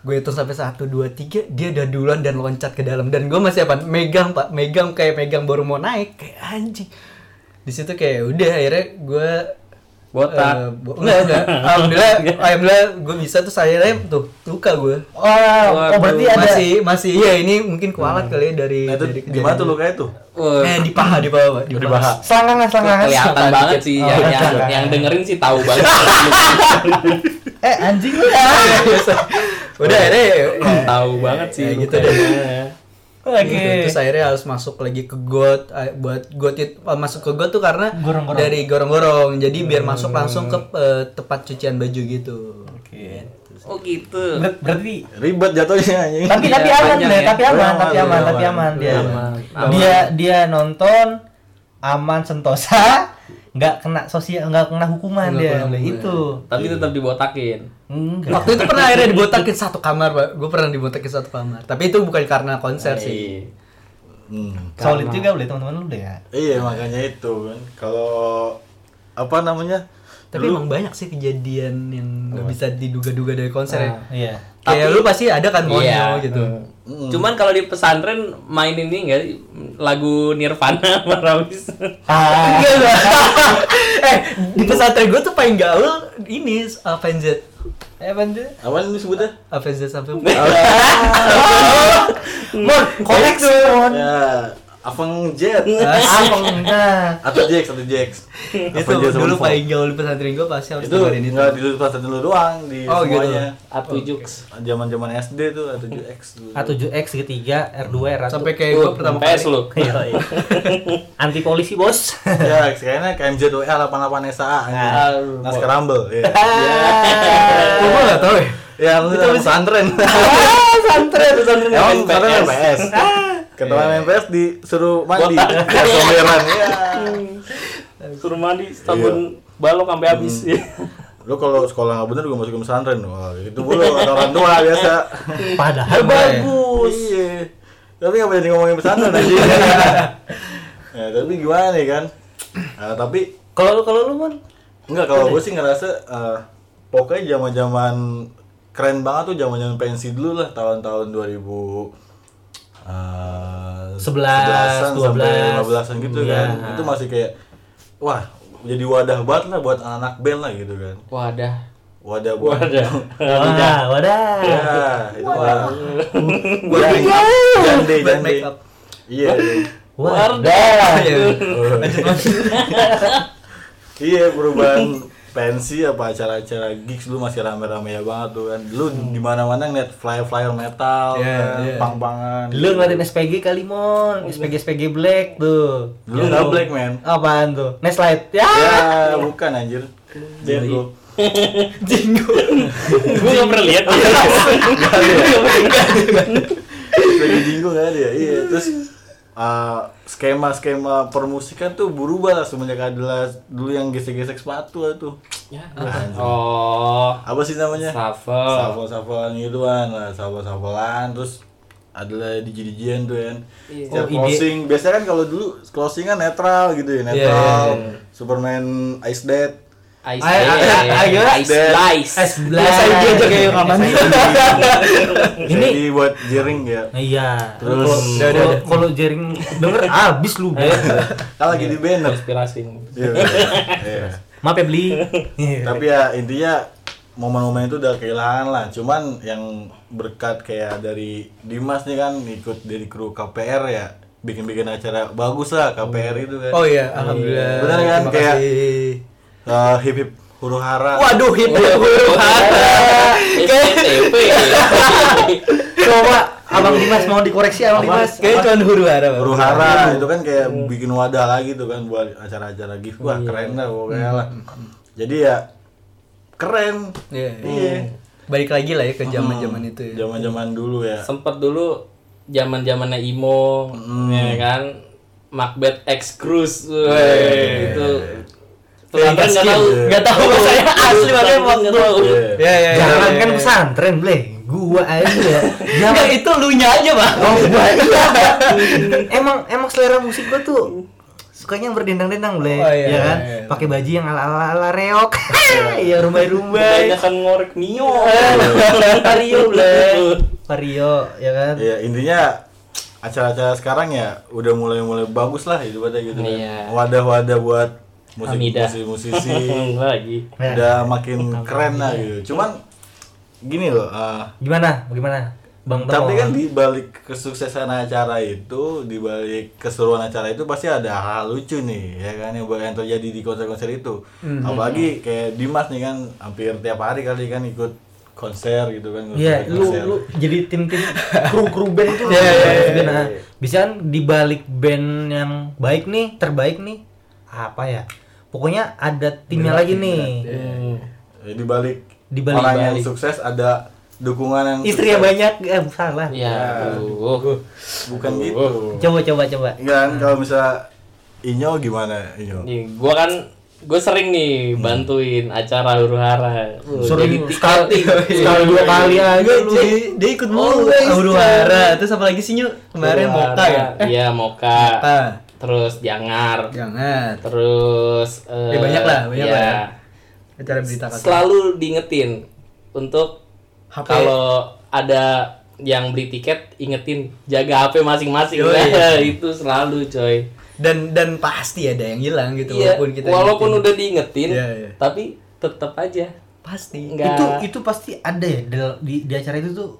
Speaker 4: Gue hitung sampai satu dua tiga, dia udah duluan dan loncat ke dalam dan gue masih apa? Megang pak, megang kayak megang baru mau naik kayak anjing. Di situ kayak udah akhirnya gue
Speaker 2: botak.
Speaker 4: Eh, bo- enggak, enggak. Alhamdulillah, alhamdulillah gue bisa tuh saya lem tuh luka gue.
Speaker 1: Oh, oh berarti ada
Speaker 4: masih masih iya ini mungkin kualat kali ya dari
Speaker 3: Nah, itu
Speaker 4: dari
Speaker 3: gimana
Speaker 4: kejadian.
Speaker 3: tuh lukanya tuh?
Speaker 2: Wah,
Speaker 4: Eh Iya. di paha di paha Pak, di
Speaker 3: Di
Speaker 4: paha.
Speaker 3: paha.
Speaker 1: selangkangan selangkangan.
Speaker 2: kelihatan banget sih yang,
Speaker 4: Oh,
Speaker 2: yang,
Speaker 4: iya.
Speaker 2: yang dengerin sih tahu banget.
Speaker 1: Eh anjing lu.
Speaker 4: Gitu, Udah
Speaker 3: Oh.
Speaker 4: deh.
Speaker 2: tahu banget sih
Speaker 4: Ya, gitu
Speaker 2: lukanya.
Speaker 1: Oke.
Speaker 4: Terus akhirnya harus masuk lagi ke got eh, buat got itu eh, masuk ke got tuh karena
Speaker 1: Gorong-gorong.
Speaker 4: dari gorong-gorong. Jadi biar
Speaker 3: Hmm.
Speaker 4: masuk langsung ke eh, tempat cucian baju gitu.
Speaker 1: Oke.
Speaker 2: Oh gitu.
Speaker 1: Ber- Berarti
Speaker 3: Ribet jatuhnya anjing.
Speaker 1: tapi tapi
Speaker 2: Iya,
Speaker 1: aman
Speaker 2: panjang
Speaker 1: deh,
Speaker 2: ya.
Speaker 1: tapi aman,
Speaker 3: Aman,
Speaker 1: tapi aman,
Speaker 3: aman,
Speaker 1: tapi aman dia.
Speaker 2: aman.
Speaker 1: Dia dia nonton aman sentosa, nggak kena sosial, nggak kena hukuman
Speaker 4: Nggak
Speaker 1: dia.
Speaker 4: kena hukuman.
Speaker 1: Itu. Hmm,
Speaker 2: Tapi tetap dibotakin.
Speaker 1: Enggak.
Speaker 4: Waktu itu pernah akhirnya dibotakin satu kamar, Pak. Gue pernah dibotakin satu kamar. Tapi itu bukan karena konser sih.
Speaker 2: Iya.
Speaker 3: Hmm.
Speaker 1: Solid juga boleh teman-teman lu deh ya.
Speaker 3: Iya makanya itu kan. Kalau apa namanya?
Speaker 4: Tapi emang banyak sih kejadian yang
Speaker 3: Oh.
Speaker 4: nggak bisa diduga-duga dari konser ya.
Speaker 1: Iya.
Speaker 4: Kayak
Speaker 2: Tapi-
Speaker 4: lu pasti ada kan monyo
Speaker 2: Iya.
Speaker 4: gitu.
Speaker 3: Mm.
Speaker 2: Cuman kalau di pesantren main ini enggak lagu Nirvana Marawis.
Speaker 1: Ah,
Speaker 4: Iya, Pak. eh, di pesantren gue tuh paling gaul ini uh, Avenged.
Speaker 1: eh bantu.
Speaker 3: Apaan ini sebutnya?
Speaker 4: Avenged sampai
Speaker 1: Mon, koleksi mon.
Speaker 3: Ya, Aveng Jet.
Speaker 4: Ah,
Speaker 1: Abang, nah.
Speaker 3: Atau Jax, atau Jax.
Speaker 4: itu dulu paling gaul di pesantren gue pasti harus
Speaker 3: itu
Speaker 4: dengerin itu.
Speaker 3: nggak di pas dulu doang di
Speaker 4: Oh, gitu.
Speaker 3: semuanya.
Speaker 2: Atu Jux.
Speaker 3: Zaman zaman SD tuh atau X dulu.
Speaker 1: A7X ketiga, R2, R1.
Speaker 4: Sampai kayak gue
Speaker 2: Oh,
Speaker 4: pertama
Speaker 2: PS
Speaker 4: kali.
Speaker 2: lu.
Speaker 1: Yoi. Iya, anti polisi bos.
Speaker 3: ya, kayaknya KMJWL 88 SA anjing.
Speaker 2: Aduh.
Speaker 3: Naskah Rumble. Iya.
Speaker 4: Lu mah nggak tahu ya?
Speaker 3: Ya, lu sama pesantren.
Speaker 2: Pesantren pesantren
Speaker 3: Emang
Speaker 2: main
Speaker 3: pesantren
Speaker 2: PS.
Speaker 3: MPS. Ketua MPS disuruh mandi. Ya, someran. Iya.
Speaker 2: Suruh mandi sabun balok sampai habis.
Speaker 3: Lu kalau sekolah nggak bener juga masukin pesantren. Wah, itu mulu orang tua biasa.
Speaker 1: Padahal
Speaker 3: Bagus. Iya. Tapi nggak jadi ngomongin pesantren aja. Ya, tapi gimana nih kan? Eh, tapi
Speaker 2: Kalau kalau lu Mon?
Speaker 3: Enggak kalau gue sih ngerasa eh, pokoknya zaman-zaman keren banget tuh zaman-zaman pensi dulu lah tahun-tahun 2000 eh,
Speaker 1: 11,
Speaker 3: 11-an sampai
Speaker 1: 12.
Speaker 3: 15-an gitu kan.
Speaker 1: Iya.
Speaker 3: Itu masih kayak wah, jadi wadah banget lah buat anak-anak band lah gitu kan.
Speaker 2: Wadah.
Speaker 3: Wadah buat
Speaker 1: Wadah, wadah.
Speaker 3: Ya, itu wadah.
Speaker 4: Buat make up.
Speaker 3: Jande,
Speaker 4: Buat
Speaker 3: jande.
Speaker 4: make up.
Speaker 3: Iya. iya.
Speaker 2: Wadah.
Speaker 3: Iya perubahan pensi apa acara-acara gigs dulu masih rame-rame ya banget tuh kan. Dulu di mana-mana ngeliat flyer-flyer metal,
Speaker 4: Hmm. Iya,
Speaker 3: kan,
Speaker 4: iya.
Speaker 3: pang-pangan.
Speaker 1: Lu ngeliatin SPG kali mon, SPG SPG black tuh.
Speaker 3: Dulu
Speaker 4: Iya.
Speaker 3: nggak black, man.
Speaker 1: Apaan tuh? Neslight. Ya.
Speaker 3: Ya, bukan anjir.
Speaker 1: Iya.
Speaker 3: Jenggo.
Speaker 2: Gue gak pernah lihat.
Speaker 3: Lagi jenggo nggak ada ya. Iya, terus uh, skema-skema permusikan tuh berubah lah semenjak adalah dulu yang gesek-gesek sepatu lah tuh.
Speaker 2: Oh.
Speaker 3: Apa sih namanya?
Speaker 4: Oh.
Speaker 2: Shuffle.
Speaker 3: Shuffle-shufflean gitu kan, nah, shuffle-shufflean terus adalah DJ DJ-an tuh kan. Setiap
Speaker 1: Oh, ide.
Speaker 3: closing, biasanya kan kalau dulu closing kan netral gitu ya, netral.
Speaker 4: iya,
Speaker 3: Superman Ice Dead.
Speaker 2: Ice
Speaker 1: Ayo, ayo, ayo.
Speaker 2: Ice Slice.
Speaker 1: Es black.
Speaker 4: Biasa dia aja
Speaker 1: Iya.
Speaker 4: kayak kapan
Speaker 3: Jadi buat jering ya.
Speaker 1: Iya.
Speaker 3: Terus-
Speaker 1: Kalau-
Speaker 4: Udah, udah, Eh.
Speaker 1: kalau- kalau jaring denger abis lu. gitu. Bro.
Speaker 3: Kan lagi di banner.
Speaker 2: Inspirasi.
Speaker 3: Iya, iya.
Speaker 1: Maaf ya beli.
Speaker 3: Tapi ya intinya momen-momen itu udah kehilangan lah. Cuman yang berkat kayak dari Dimas nih kan ikut dari kru KPR ya bikin-bikin acara bagus lah KPR itu kan.
Speaker 4: Oh iya, alhamdulillah.
Speaker 3: Bener kan,
Speaker 4: Terima
Speaker 3: kayak-
Speaker 4: kasih.
Speaker 3: Eh, hip hip huru hara.
Speaker 4: Waduh, hip hip
Speaker 2: SCTV.
Speaker 1: Coba Abang Dimas mau dikoreksi Abang
Speaker 3: Apa?
Speaker 1: Dimas.
Speaker 4: Kayak cuman huru hara. Pak.
Speaker 3: huru hara itu kan kayak
Speaker 4: Iya.
Speaker 3: bikin wadah lagi tuh kan buat acara-acara gift wah keren lah pokoknya
Speaker 4: Hmm.
Speaker 3: lah jadi ya keren
Speaker 4: Iya.
Speaker 3: iya Hmm.
Speaker 4: Balik lagi lah ya ke zaman-zaman itu ya.
Speaker 3: zaman-zaman dulu ya
Speaker 2: Sempet dulu zaman zamannya Imo, ya kan? Macbeth X Cruise, weh, itu pesantren iya, nggak tahu, Oh. nggak tahu saya asli makanya waktu itu.
Speaker 3: Iya.
Speaker 4: Ya ya. ya,
Speaker 1: Jangan
Speaker 4: ya,
Speaker 1: kan
Speaker 4: ya.
Speaker 1: pesantren, bleh. Gua aja. Jangan
Speaker 4: Enggak itu lu nya aja, Pak.
Speaker 1: Oh, gua iya. emang emang selera musik gua tuh sukanya yang berdendang-dendang, Ble.
Speaker 4: Oh, iya,
Speaker 1: ya kan?
Speaker 4: iya, iya.
Speaker 1: Pakai baju yang ala-ala ala reok. Iya, rumbai-rumbai.
Speaker 2: Kebanyakan kan ngorek mio. Iya.
Speaker 1: Vario, Ble. Vario, ya kan?
Speaker 3: ya intinya acara-acara sekarang ya udah mulai-mulai bagus lah daripada gitu kan.
Speaker 2: Iya.
Speaker 3: wadah-wadah buat musik
Speaker 2: Amida.
Speaker 3: musik musisi
Speaker 2: Hmm, lagi
Speaker 3: udah makin keren lah gitu cuman gini loh eh,
Speaker 1: Gimana? Bagaimana? Bang Temo.
Speaker 3: tapi kan di balik kesuksesan acara itu, di balik keseruan acara itu pasti ada hal lucu nih, ya kan yang yang terjadi di konser-konser itu.
Speaker 1: Hmm,
Speaker 3: Apalagi kayak Dimas nih kan hampir tiap hari kali kan ikut konser gitu kan.
Speaker 1: Iya, lu
Speaker 3: konser-konser.
Speaker 1: lu jadi tim-tim kru-kru band itu.
Speaker 3: Iya, iya, iya,
Speaker 1: Juga, nah.
Speaker 3: iya.
Speaker 1: Bisa kan di balik band yang baik nih, terbaik nih. Apa ya? Pokoknya ada timnya lagi nih. Iya.
Speaker 2: Hmm.
Speaker 3: Eh, Di balik
Speaker 1: Di balik-
Speaker 3: orang yang
Speaker 1: balik.
Speaker 3: sukses ada dukungan yang
Speaker 1: Istri yang
Speaker 3: sukses.
Speaker 1: banyak, eh salah.
Speaker 3: Iya.
Speaker 2: ya aduh.
Speaker 3: Bukan gitu.
Speaker 1: Coba coba coba.
Speaker 3: Enggak kan kalau misalnya Inyo gimana Inyo?
Speaker 2: Nih, gua kan gue sering nih bantuin acara huru hara
Speaker 1: Sering
Speaker 2: sekali
Speaker 3: Iya.
Speaker 1: Sekali dua kali
Speaker 2: Iya.
Speaker 1: aja lu.
Speaker 4: dia, dia ikut mulu Aurora terus apalagi sih Nyu? kemarin Moka ya
Speaker 2: iya moka
Speaker 4: Moka.
Speaker 2: terus jangar
Speaker 4: jangan
Speaker 2: terus eh,
Speaker 4: Ya, banyak lah, banyak
Speaker 2: ya,
Speaker 4: lah ya. acara berita kata
Speaker 2: selalu diingetin untuk
Speaker 4: HP.
Speaker 2: kalau ada yang beli tiket ingetin jaga HP masing-masing
Speaker 4: Yoi.
Speaker 2: Nah, itu selalu coy
Speaker 4: dan dan pasti ada yang hilang gitu
Speaker 2: Iya,
Speaker 4: walaupun kita
Speaker 2: walaupun
Speaker 4: ingetin.
Speaker 2: udah diingetin
Speaker 4: Iya, iya.
Speaker 2: tapi tetap aja
Speaker 4: pasti
Speaker 2: enggak
Speaker 1: Itu itu pasti ada ya di- di, di acara itu tuh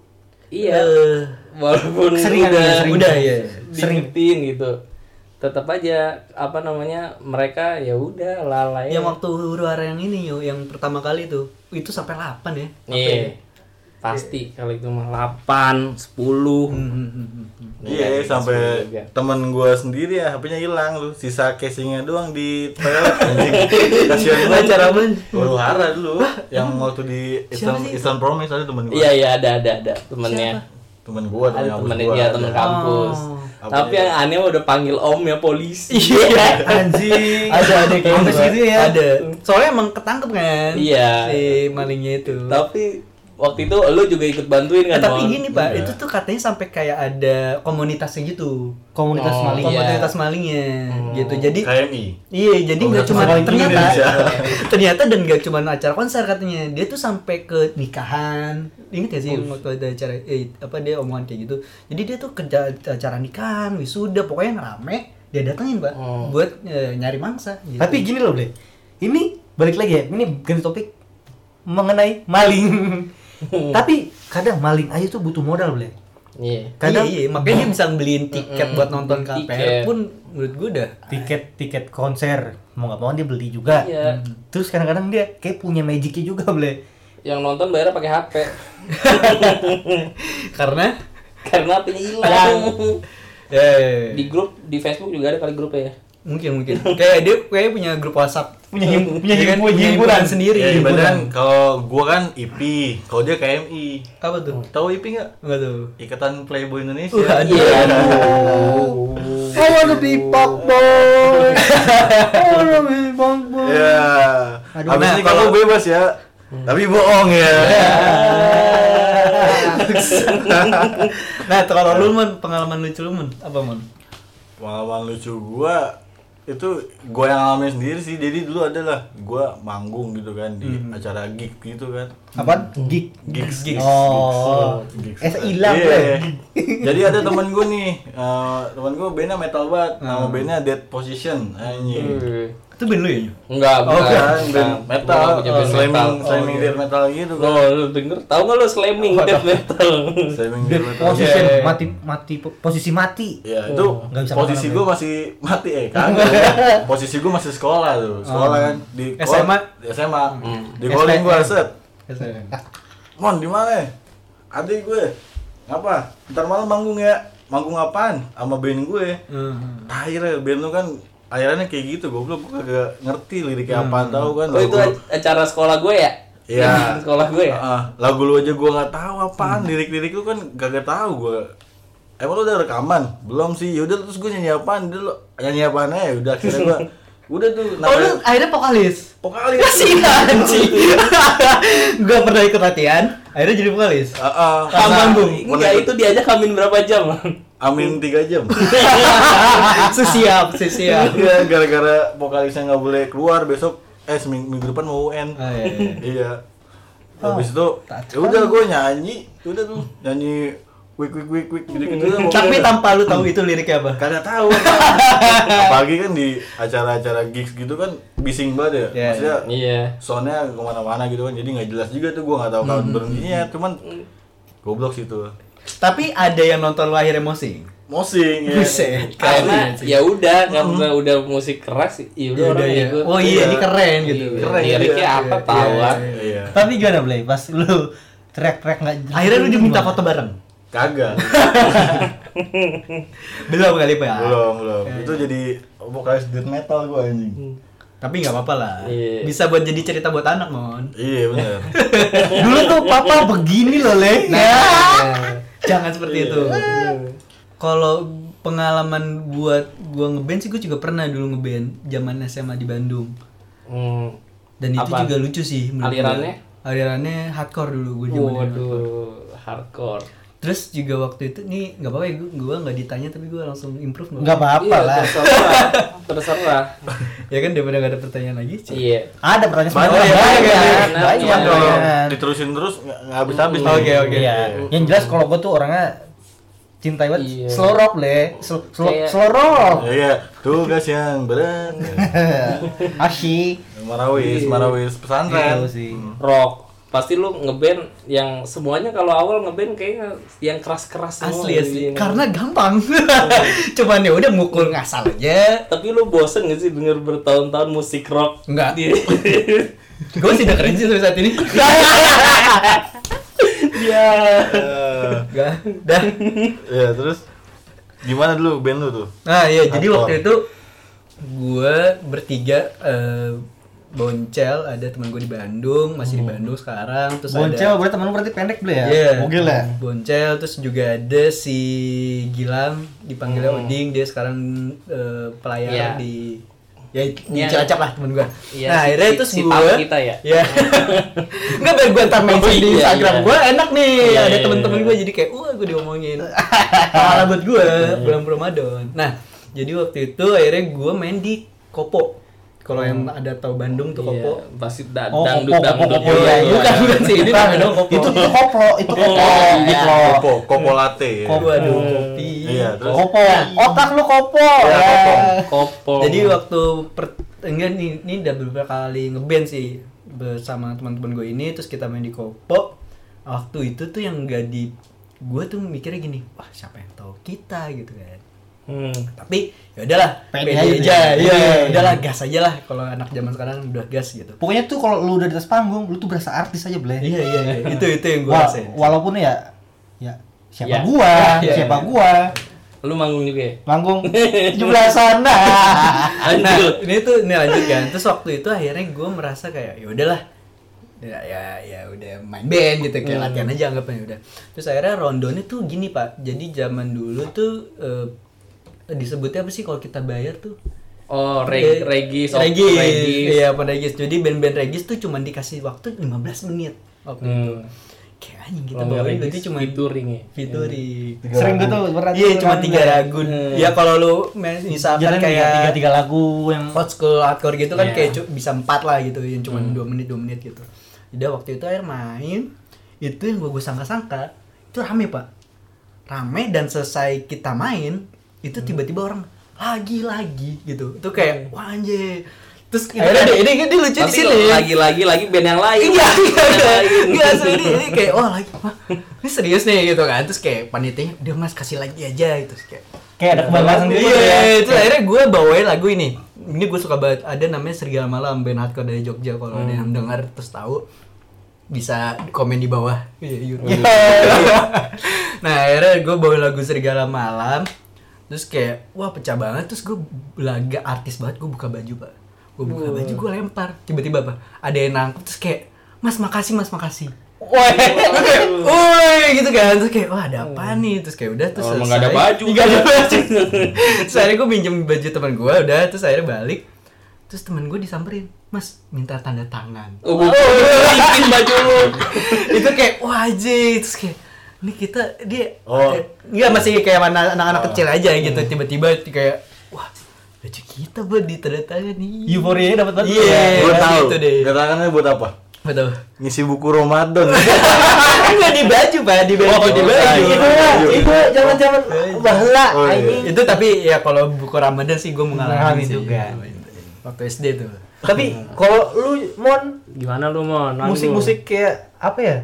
Speaker 2: iya
Speaker 4: Eh,
Speaker 2: walaupun
Speaker 1: Keseringan
Speaker 2: udah
Speaker 1: ya, sering.
Speaker 4: kan, udah ya
Speaker 1: Sering.
Speaker 2: diingetin gitu tetap aja apa namanya mereka ya udah lalai
Speaker 4: yang waktu huru hara yang ini yo yang pertama kali tuh itu sampai 8 ya
Speaker 2: Iya. pasti kalau itu mah 8 10
Speaker 4: Hmm, hmm, hmm, hmm.
Speaker 3: Iya, sampai temen gua sendiri ya HP-nya hilang lu. Sisa casingnya doang di toilet anjing. Kasihan
Speaker 4: Itu
Speaker 3: banget.
Speaker 4: acara apa?
Speaker 3: Huru hara dulu yang waktu di Eastern, Eastern Promise ada temen gua.
Speaker 2: iya iya ada ada ada temennya
Speaker 3: Temen gua temen
Speaker 2: ada
Speaker 3: kampus
Speaker 2: temennya
Speaker 3: gua.
Speaker 2: dia temen kampus
Speaker 3: ya.
Speaker 4: Oh.
Speaker 3: Apa
Speaker 2: tapi
Speaker 3: dia?
Speaker 2: yang aneh udah panggil om ya polisi
Speaker 1: anjing.
Speaker 4: Iya. ada ada kayak
Speaker 1: Sampai
Speaker 4: gitu.
Speaker 1: segitu ya?
Speaker 4: ada soalnya emang ketangkep kan
Speaker 2: Iya.
Speaker 4: si malingnya itu
Speaker 2: tapi waktu itu lu juga ikut bantuin
Speaker 4: Eh,
Speaker 2: kan
Speaker 4: tapi
Speaker 2: Mon?
Speaker 4: gini pak
Speaker 3: Iya.
Speaker 4: itu tuh katanya sampai kayak ada komunitasnya gitu
Speaker 1: Komunitas
Speaker 2: Oh,
Speaker 1: maling.
Speaker 2: iya.
Speaker 4: komunitas malingnya gitu jadi
Speaker 3: KMI.
Speaker 4: Iya, jadi nggak
Speaker 3: Komunitas
Speaker 4: cuma
Speaker 3: maling
Speaker 4: ternyata
Speaker 3: Indonesia.
Speaker 4: ternyata dan nggak cuma acara konser katanya. Dia tuh sampai ke nikahan. Ingat gak sih yang waktu ada acara eh, apa dia omongan kayak gitu. Jadi dia tuh kerja acara nikahan, wisuda, pokoknya yang rame dia datengin, Pak,
Speaker 2: Oh.
Speaker 4: buat eh, nyari mangsa gitu.
Speaker 1: Tapi gini loh, Bre. Ini balik lagi ya. Ini ganti topik mengenai maling. Tapi kadang maling aja tuh butuh modal, Bre.
Speaker 2: iya
Speaker 1: Kadang
Speaker 4: iya, iya, makanya dia bisa beliin tiket
Speaker 2: Mm-mm,
Speaker 4: buat nonton
Speaker 2: tiket.
Speaker 4: KPR pun menurut gue udah
Speaker 1: tiket tiket konser mau nggak mau dia beli juga. Hmm.
Speaker 2: Iya.
Speaker 1: Terus kadang-kadang dia kayak punya magicnya juga, Bre.
Speaker 2: yang nonton bayar pakai HP
Speaker 4: karena
Speaker 2: karena hpnya hilang
Speaker 4: eh
Speaker 2: di grup di Facebook juga ada kali grupnya ya
Speaker 4: mungkin mungkin kayak dia kayak punya grup WhatsApp
Speaker 1: Punya him- punya
Speaker 4: Iya kan?
Speaker 1: himpunan- himpunan.
Speaker 4: sendiri.
Speaker 3: Iya,
Speaker 4: Himpunan.
Speaker 3: ibaratkan kalau gua kan IP, kalau dia KMI.
Speaker 4: Apa tuh?
Speaker 3: Tahu IP enggak?
Speaker 4: Enggak tuh.
Speaker 3: Ikatan Playboy Indonesia.
Speaker 4: Wah, ada.
Speaker 2: iya
Speaker 1: I wanna be fuck boy. I wanna be fuck boy.
Speaker 3: Ya.
Speaker 1: Aduh,
Speaker 3: Habis
Speaker 1: nah,
Speaker 3: ini kamu bebas ya.
Speaker 2: Hmm.
Speaker 3: Tapi bohong ya.
Speaker 2: Iya.
Speaker 4: Nah, kalau lu Mon, pengalaman lucu lu Mon, apa Mon?
Speaker 3: pengalaman lucu gua itu gua yang alami sendiri sih jadi dulu adalah gua manggung gitu kan di
Speaker 2: Hmm.
Speaker 3: acara gig gitu kan
Speaker 1: Apa? Gig.
Speaker 3: gigs
Speaker 4: Gigs.
Speaker 1: Oh. Es hilang,
Speaker 3: Iya.
Speaker 1: Bre.
Speaker 3: jadi ada temen gua nih eh, temen gua bandnya metal banget nama
Speaker 2: Hmm.
Speaker 3: bandnya Dead Position anjing
Speaker 4: Itu band lu ya? Nyu?
Speaker 2: enggak
Speaker 3: Oh kan,
Speaker 2: bukan.
Speaker 3: band
Speaker 2: Nah, Gua
Speaker 3: metal,
Speaker 2: punya band metal. Oh, iya.
Speaker 3: slamming, slamming death metal gitu
Speaker 2: Lo
Speaker 3: kan,
Speaker 2: lu denger tau gak lu slamming kan, death metal?
Speaker 3: slamming death metal.
Speaker 1: Posisi
Speaker 4: Iya, iya, iya.
Speaker 1: mati mati posisi mati.
Speaker 3: Ya itu
Speaker 1: Oh, Nggak bisa
Speaker 3: posisi
Speaker 1: kemana-mana.
Speaker 3: gue masih mati eh kagak. posisi gue masih sekolah tuh, sekolah
Speaker 1: Oh.
Speaker 3: kan di
Speaker 4: SMA?
Speaker 3: call- di SMA.
Speaker 1: Hmm.
Speaker 3: Di calling gue set.
Speaker 4: SLM.
Speaker 3: Mon di mana? Adik gue. Apa? Ntar malam manggung ya. Manggung apaan? Sama band gue.
Speaker 4: Hmm.
Speaker 3: Akhirnya band lu kan akhirnya kayak gitu goblok gue kagak ngerti liriknya apaan
Speaker 1: Hmm.
Speaker 3: tahu kan.
Speaker 2: Oh itu
Speaker 3: Lagu-
Speaker 2: acara sekolah gue ya?
Speaker 3: Iya.
Speaker 2: sekolah gue ya?
Speaker 3: Ah, lagu lu aja gua nggak tahu apaan lirik-lirik lu kan kagak tahu gua. Emang lu udah rekaman? Belum sih. Yaudah terus gua nyanyi apaan? Dia lu nyanyi apaan aja Ya udah akhirnya gua udah tuh
Speaker 4: Oh lu akhirnya vokalis?
Speaker 3: pokali.
Speaker 4: Kasih anjing Gua pernah ikut latihan, akhirnya jadi vokalis
Speaker 3: Heeh.
Speaker 4: Tambang,
Speaker 2: Enggak Iya, itu diajak kamin berapa jam?
Speaker 3: Amin 3 jam.
Speaker 4: Sesiap, sesiap
Speaker 3: Iya, gara-gara vokalisnya nggak boleh keluar besok eh seminggu minggu depan mau UN.
Speaker 4: Ah, iya, iya.
Speaker 3: iya. Habis itu ya udah gua nyanyi, udah tuh nyanyi wik wik wik wik gitu gitu
Speaker 4: Tapi tanpa lu tahu itu liriknya apa?
Speaker 3: kagak tahu apalagi kan di acara-acara gigs gitu kan bising banget ya
Speaker 4: Iya,
Speaker 3: maksudnya
Speaker 2: Iya.
Speaker 3: soundnya kemana-mana gitu kan jadi nggak jelas juga tuh gue nggak tahu kawan berhentinya cuman goblok sih tuh
Speaker 4: Tapi ada yang nonton lu akhirnya emosi.
Speaker 3: mosing ya
Speaker 4: Buset.
Speaker 2: Karena ya udah karena udah musik keras, ya udah orang
Speaker 4: ya.
Speaker 2: ikut.
Speaker 4: Oh iya, ini keren gitu.
Speaker 2: Iya,
Speaker 3: Keren,
Speaker 2: Liriknya
Speaker 3: iya,
Speaker 2: apa
Speaker 3: iya,
Speaker 2: tahu ah.
Speaker 3: iya
Speaker 1: Tapi gimana Blay? Pas lu track-track nggak jelas
Speaker 4: Akhirnya lu
Speaker 1: itu
Speaker 4: diminta
Speaker 1: gimana?
Speaker 4: foto bareng.
Speaker 3: kagak
Speaker 4: Belum kali Pak.
Speaker 3: belum belum itu jadi vokalis death metal gue anjing
Speaker 4: Tapi nggak apa-apa lah.
Speaker 2: Iya.
Speaker 4: Bisa buat jadi cerita buat anak, Mon.
Speaker 3: iya bener
Speaker 1: Dulu tuh papa begini loh Le. Ya.
Speaker 2: Iya,
Speaker 4: Jangan seperti itu. Kalau pengalaman buat gua ngeband sih gua juga pernah dulu ngeband zaman SMA di Bandung.
Speaker 2: Hmm.
Speaker 4: Dan itu
Speaker 2: Apa?
Speaker 4: juga lucu sih menurut
Speaker 2: Alirannya? Oh,
Speaker 4: gua. Alirannya hardcore dulu gua zaman itu.
Speaker 2: Waduh, hardcore.
Speaker 4: Terus juga waktu itu nih nggak apa-apa ya gua- gua nggak ditanya tapi gua langsung improve nggak
Speaker 1: Enggak apa-apa
Speaker 2: Iya,
Speaker 1: lah.
Speaker 2: Terserah. terserah.
Speaker 4: ya kan daripada gak ada pertanyaan lagi sih.
Speaker 2: Iya.
Speaker 1: Ada pertanyaan
Speaker 3: Banyak,
Speaker 1: sebenarnya.
Speaker 2: banyak,
Speaker 1: banyak.
Speaker 2: banyak.
Speaker 3: cuman
Speaker 1: Banyak.
Speaker 3: kalau
Speaker 1: banyak.
Speaker 3: diterusin terus nggak nggak habis habis
Speaker 4: Oke, oke.
Speaker 1: Iya. Yang jelas kalau gua tuh orangnya cintai banget
Speaker 2: Iya.
Speaker 1: slow rock Le. Slow slow,
Speaker 2: Kayak-
Speaker 1: slow rock.
Speaker 3: iya tugas yang berat
Speaker 1: Asyik.
Speaker 3: marawis marawis
Speaker 4: Gitu
Speaker 3: pesantren
Speaker 1: Iya sih.
Speaker 2: Rock. Pasti lu ngeband yang semuanya kalau awal ngeband kayaknya yang keras-keras semua. gitu.
Speaker 4: Asli asli.
Speaker 2: Ini.
Speaker 4: Karena gampang.
Speaker 2: Oh.
Speaker 4: Cuman ya udah mukul ngasal aja.
Speaker 2: tapi lu bosen gak sih denger bertahun-tahun musik rock? Iya.
Speaker 4: Enggak.
Speaker 2: Di-
Speaker 4: Gue sih udah keren sih sampai saat ini.
Speaker 2: Iya.
Speaker 3: Eh,
Speaker 4: Enggak. Dah.
Speaker 3: ya terus gimana dulu band lu tuh
Speaker 4: Nah ya jadi
Speaker 3: Hardcore.
Speaker 4: waktu itu gue bertiga eh, boncel ada teman gue di Bandung masih di Bandung sekarang terus
Speaker 1: Boncel
Speaker 4: ada
Speaker 1: berarti temen lu berarti pendek Blay ya?
Speaker 4: Iya.
Speaker 1: Gokil ya?
Speaker 4: boncel terus juga ada si Gilang
Speaker 1: Hmm.
Speaker 4: dipanggilnya Oding dia sekarang eh, pelayar
Speaker 2: Iya.
Speaker 4: di ya di
Speaker 2: Iya.
Speaker 4: Cilacap lah temen gue.
Speaker 2: Iya,
Speaker 4: nah
Speaker 2: si-
Speaker 4: akhirnya
Speaker 2: si-
Speaker 4: terus
Speaker 2: si
Speaker 4: gue
Speaker 2: tamu kita ya?
Speaker 4: Iya. Enggak biar gue ntar mention di
Speaker 2: iya,
Speaker 4: Instagram
Speaker 2: iya.
Speaker 4: gue enak nih
Speaker 2: Iya,
Speaker 4: ada
Speaker 2: iya,
Speaker 4: temen-temen
Speaker 2: iya. iya.
Speaker 4: gue jadi kayak wah gue diomongin. Parah buat gue bulan Ramadan. Nah jadi waktu itu akhirnya gue main di Kopo.
Speaker 1: Hmm.
Speaker 4: Kalau yang ada tahu Bandung tuh Kopo.
Speaker 2: Iya, Pasti da-
Speaker 1: Oh,
Speaker 2: dangdut
Speaker 1: kopo, kopo,
Speaker 2: dangdut.
Speaker 1: kopo,
Speaker 2: gitu.
Speaker 1: iya, iya.
Speaker 4: Bukan bukan sih ini namanya doang Kopo.
Speaker 1: Itu itu koplo, itu koplo,
Speaker 2: iya.
Speaker 1: koplo.
Speaker 3: kopo kopo latte ya.
Speaker 1: Kopo.
Speaker 4: Waduh kopi.
Speaker 3: iya terus
Speaker 1: Kopo. Otak lu kopo.
Speaker 3: Iya,
Speaker 1: Ya.
Speaker 3: kopo.
Speaker 2: Kopo.
Speaker 4: Jadi waktu per, enggak nih ini udah beberapa kali ngeband sih bersama teman-teman gue ini terus kita main di Kopo. Waktu itu tuh yang gak di gue tuh mikirnya gini, wah siapa yang tahu kita gitu kan.
Speaker 2: Hmm.
Speaker 4: Tapi ya udahlah,
Speaker 1: Pede
Speaker 4: pede,
Speaker 1: aja
Speaker 4: aja.
Speaker 1: tuh.
Speaker 4: Iya,
Speaker 1: Iya.
Speaker 4: udahlah gas aja lah kalau anak zaman sekarang udah gas gitu.
Speaker 1: Pokoknya tuh kalau lu udah di atas panggung, lu tuh berasa artis aja, Bleh.
Speaker 4: Iya iya iya, itu itu yang gue
Speaker 1: Wa-
Speaker 4: rasain.
Speaker 1: walaupun ya ya siapa
Speaker 2: Ya.
Speaker 1: gua,
Speaker 4: Ya,
Speaker 1: siapa
Speaker 4: ya.
Speaker 1: gua.
Speaker 2: Lu manggung juga ya?
Speaker 1: Manggung 17 sana.
Speaker 4: nah
Speaker 2: Lanjut.
Speaker 4: ini tuh ini lanjut kan terus waktu itu akhirnya gue merasa kayak ya udahlah ya ya ya udah main band gitu
Speaker 2: Hmm.
Speaker 4: kayak latihan aja anggapnya udah terus akhirnya rondonnya tuh gini pak jadi zaman dulu tuh eh, disebutnya apa sih kalau kita bayar tuh
Speaker 2: Oh,
Speaker 4: Eh,
Speaker 2: reg regis, oh,
Speaker 4: regis,
Speaker 2: regis.
Speaker 4: iya pada regis jadi band-band regis tuh cuman dikasih waktu 15 menit waktu
Speaker 2: Hmm.
Speaker 4: itu kayak anjing kita
Speaker 2: Kalau nggak
Speaker 4: bawain
Speaker 2: regis,
Speaker 4: berarti cuma
Speaker 2: featuring ya?
Speaker 4: featuring
Speaker 1: Sering gue tuh berarti.
Speaker 4: iya cuma tiga lagu
Speaker 2: Hmm.
Speaker 4: ya kalau lu mes-
Speaker 1: tiga
Speaker 4: misalkan kayak
Speaker 1: tiga lagu yang
Speaker 4: hot school hardcore gitu
Speaker 2: Iya.
Speaker 4: kan kayak cu- bisa empat lah gitu yang cuma dua menit dua menit gitu udah waktu itu air main itu yang gue gue sangka-sangka itu rame pak rame dan selesai kita main itu tiba-tiba orang lagi lagi gitu itu kayak wah anjir terus kan akhirnya deh, ini, ini lucu di
Speaker 2: Pasti
Speaker 4: sini
Speaker 2: lagi-lagi lagi band yang lain.
Speaker 4: Iya, iya,
Speaker 2: Band
Speaker 4: iya.
Speaker 2: yang lain.
Speaker 4: Enggak, asli ini, ini kayak wah lagi. Wah, ini serius nih gitu kan. Terus kayak panitianya, "Udah Mas, kasih lagi aja." Gitu Terus kayak
Speaker 1: kayak ada kebanggaan sendiri
Speaker 4: Iya,
Speaker 1: gitu ya.
Speaker 4: itu akhirnya gue bawain lagu ini. Ini gue suka banget. Ada namanya Serigala Malam band hardcore dari Jogja kalau ada yang dengar terus tahu bisa komen di bawah Iya, YouTube. nah akhirnya gue bawain lagu Serigala Malam terus kayak wah pecah banget terus gue laga artis banget gue buka baju pak gue buka baju gue lempar tiba-tiba apa ada yang nangkep terus kayak mas makasih mas makasih
Speaker 1: Woi.
Speaker 4: Terus kayak, Woi gitu kan terus kayak wah ada apa nih terus kayak udah terus
Speaker 2: Oh, emang nggak ada
Speaker 4: selesai.
Speaker 2: baju.
Speaker 4: Nggak ada baju terus akhirnya gue minjem baju teman gue udah terus akhirnya balik terus teman gue disamperin mas minta tanda tangan
Speaker 2: Oh, bukan. bikin baju lu.
Speaker 4: itu kayak wah anjing. terus kayak ini kita dia
Speaker 3: Oh. Hmm.
Speaker 4: eh, nggak masih kayak mana anak-anak kecil aja gitu tiba-tiba kayak wah baju kita buat ditanda tangan nih
Speaker 1: Euforianya dapat banget.
Speaker 3: gue
Speaker 4: Iya. gitu
Speaker 3: tahu
Speaker 4: deh.
Speaker 3: katakannya buat apa
Speaker 4: Betul.
Speaker 3: ngisi buku Ramadan
Speaker 2: Enggak di baju, Pak, di baju.
Speaker 3: Oh,
Speaker 1: Iya,
Speaker 3: di baju.
Speaker 4: iya,
Speaker 2: Itu, itu zaman-zaman bahla
Speaker 3: Oh, iya.
Speaker 2: ini.
Speaker 4: Itu tapi ya kalau buku Ramadan sih gue mengalami
Speaker 1: Mengalami
Speaker 4: sih.
Speaker 1: juga.
Speaker 3: iya.
Speaker 4: Waktu SD tuh. Iya.
Speaker 1: Tapi kalau lu mon
Speaker 2: Gimana lu, Mon? Mon, lu.
Speaker 1: musik-musik kayak apa ya?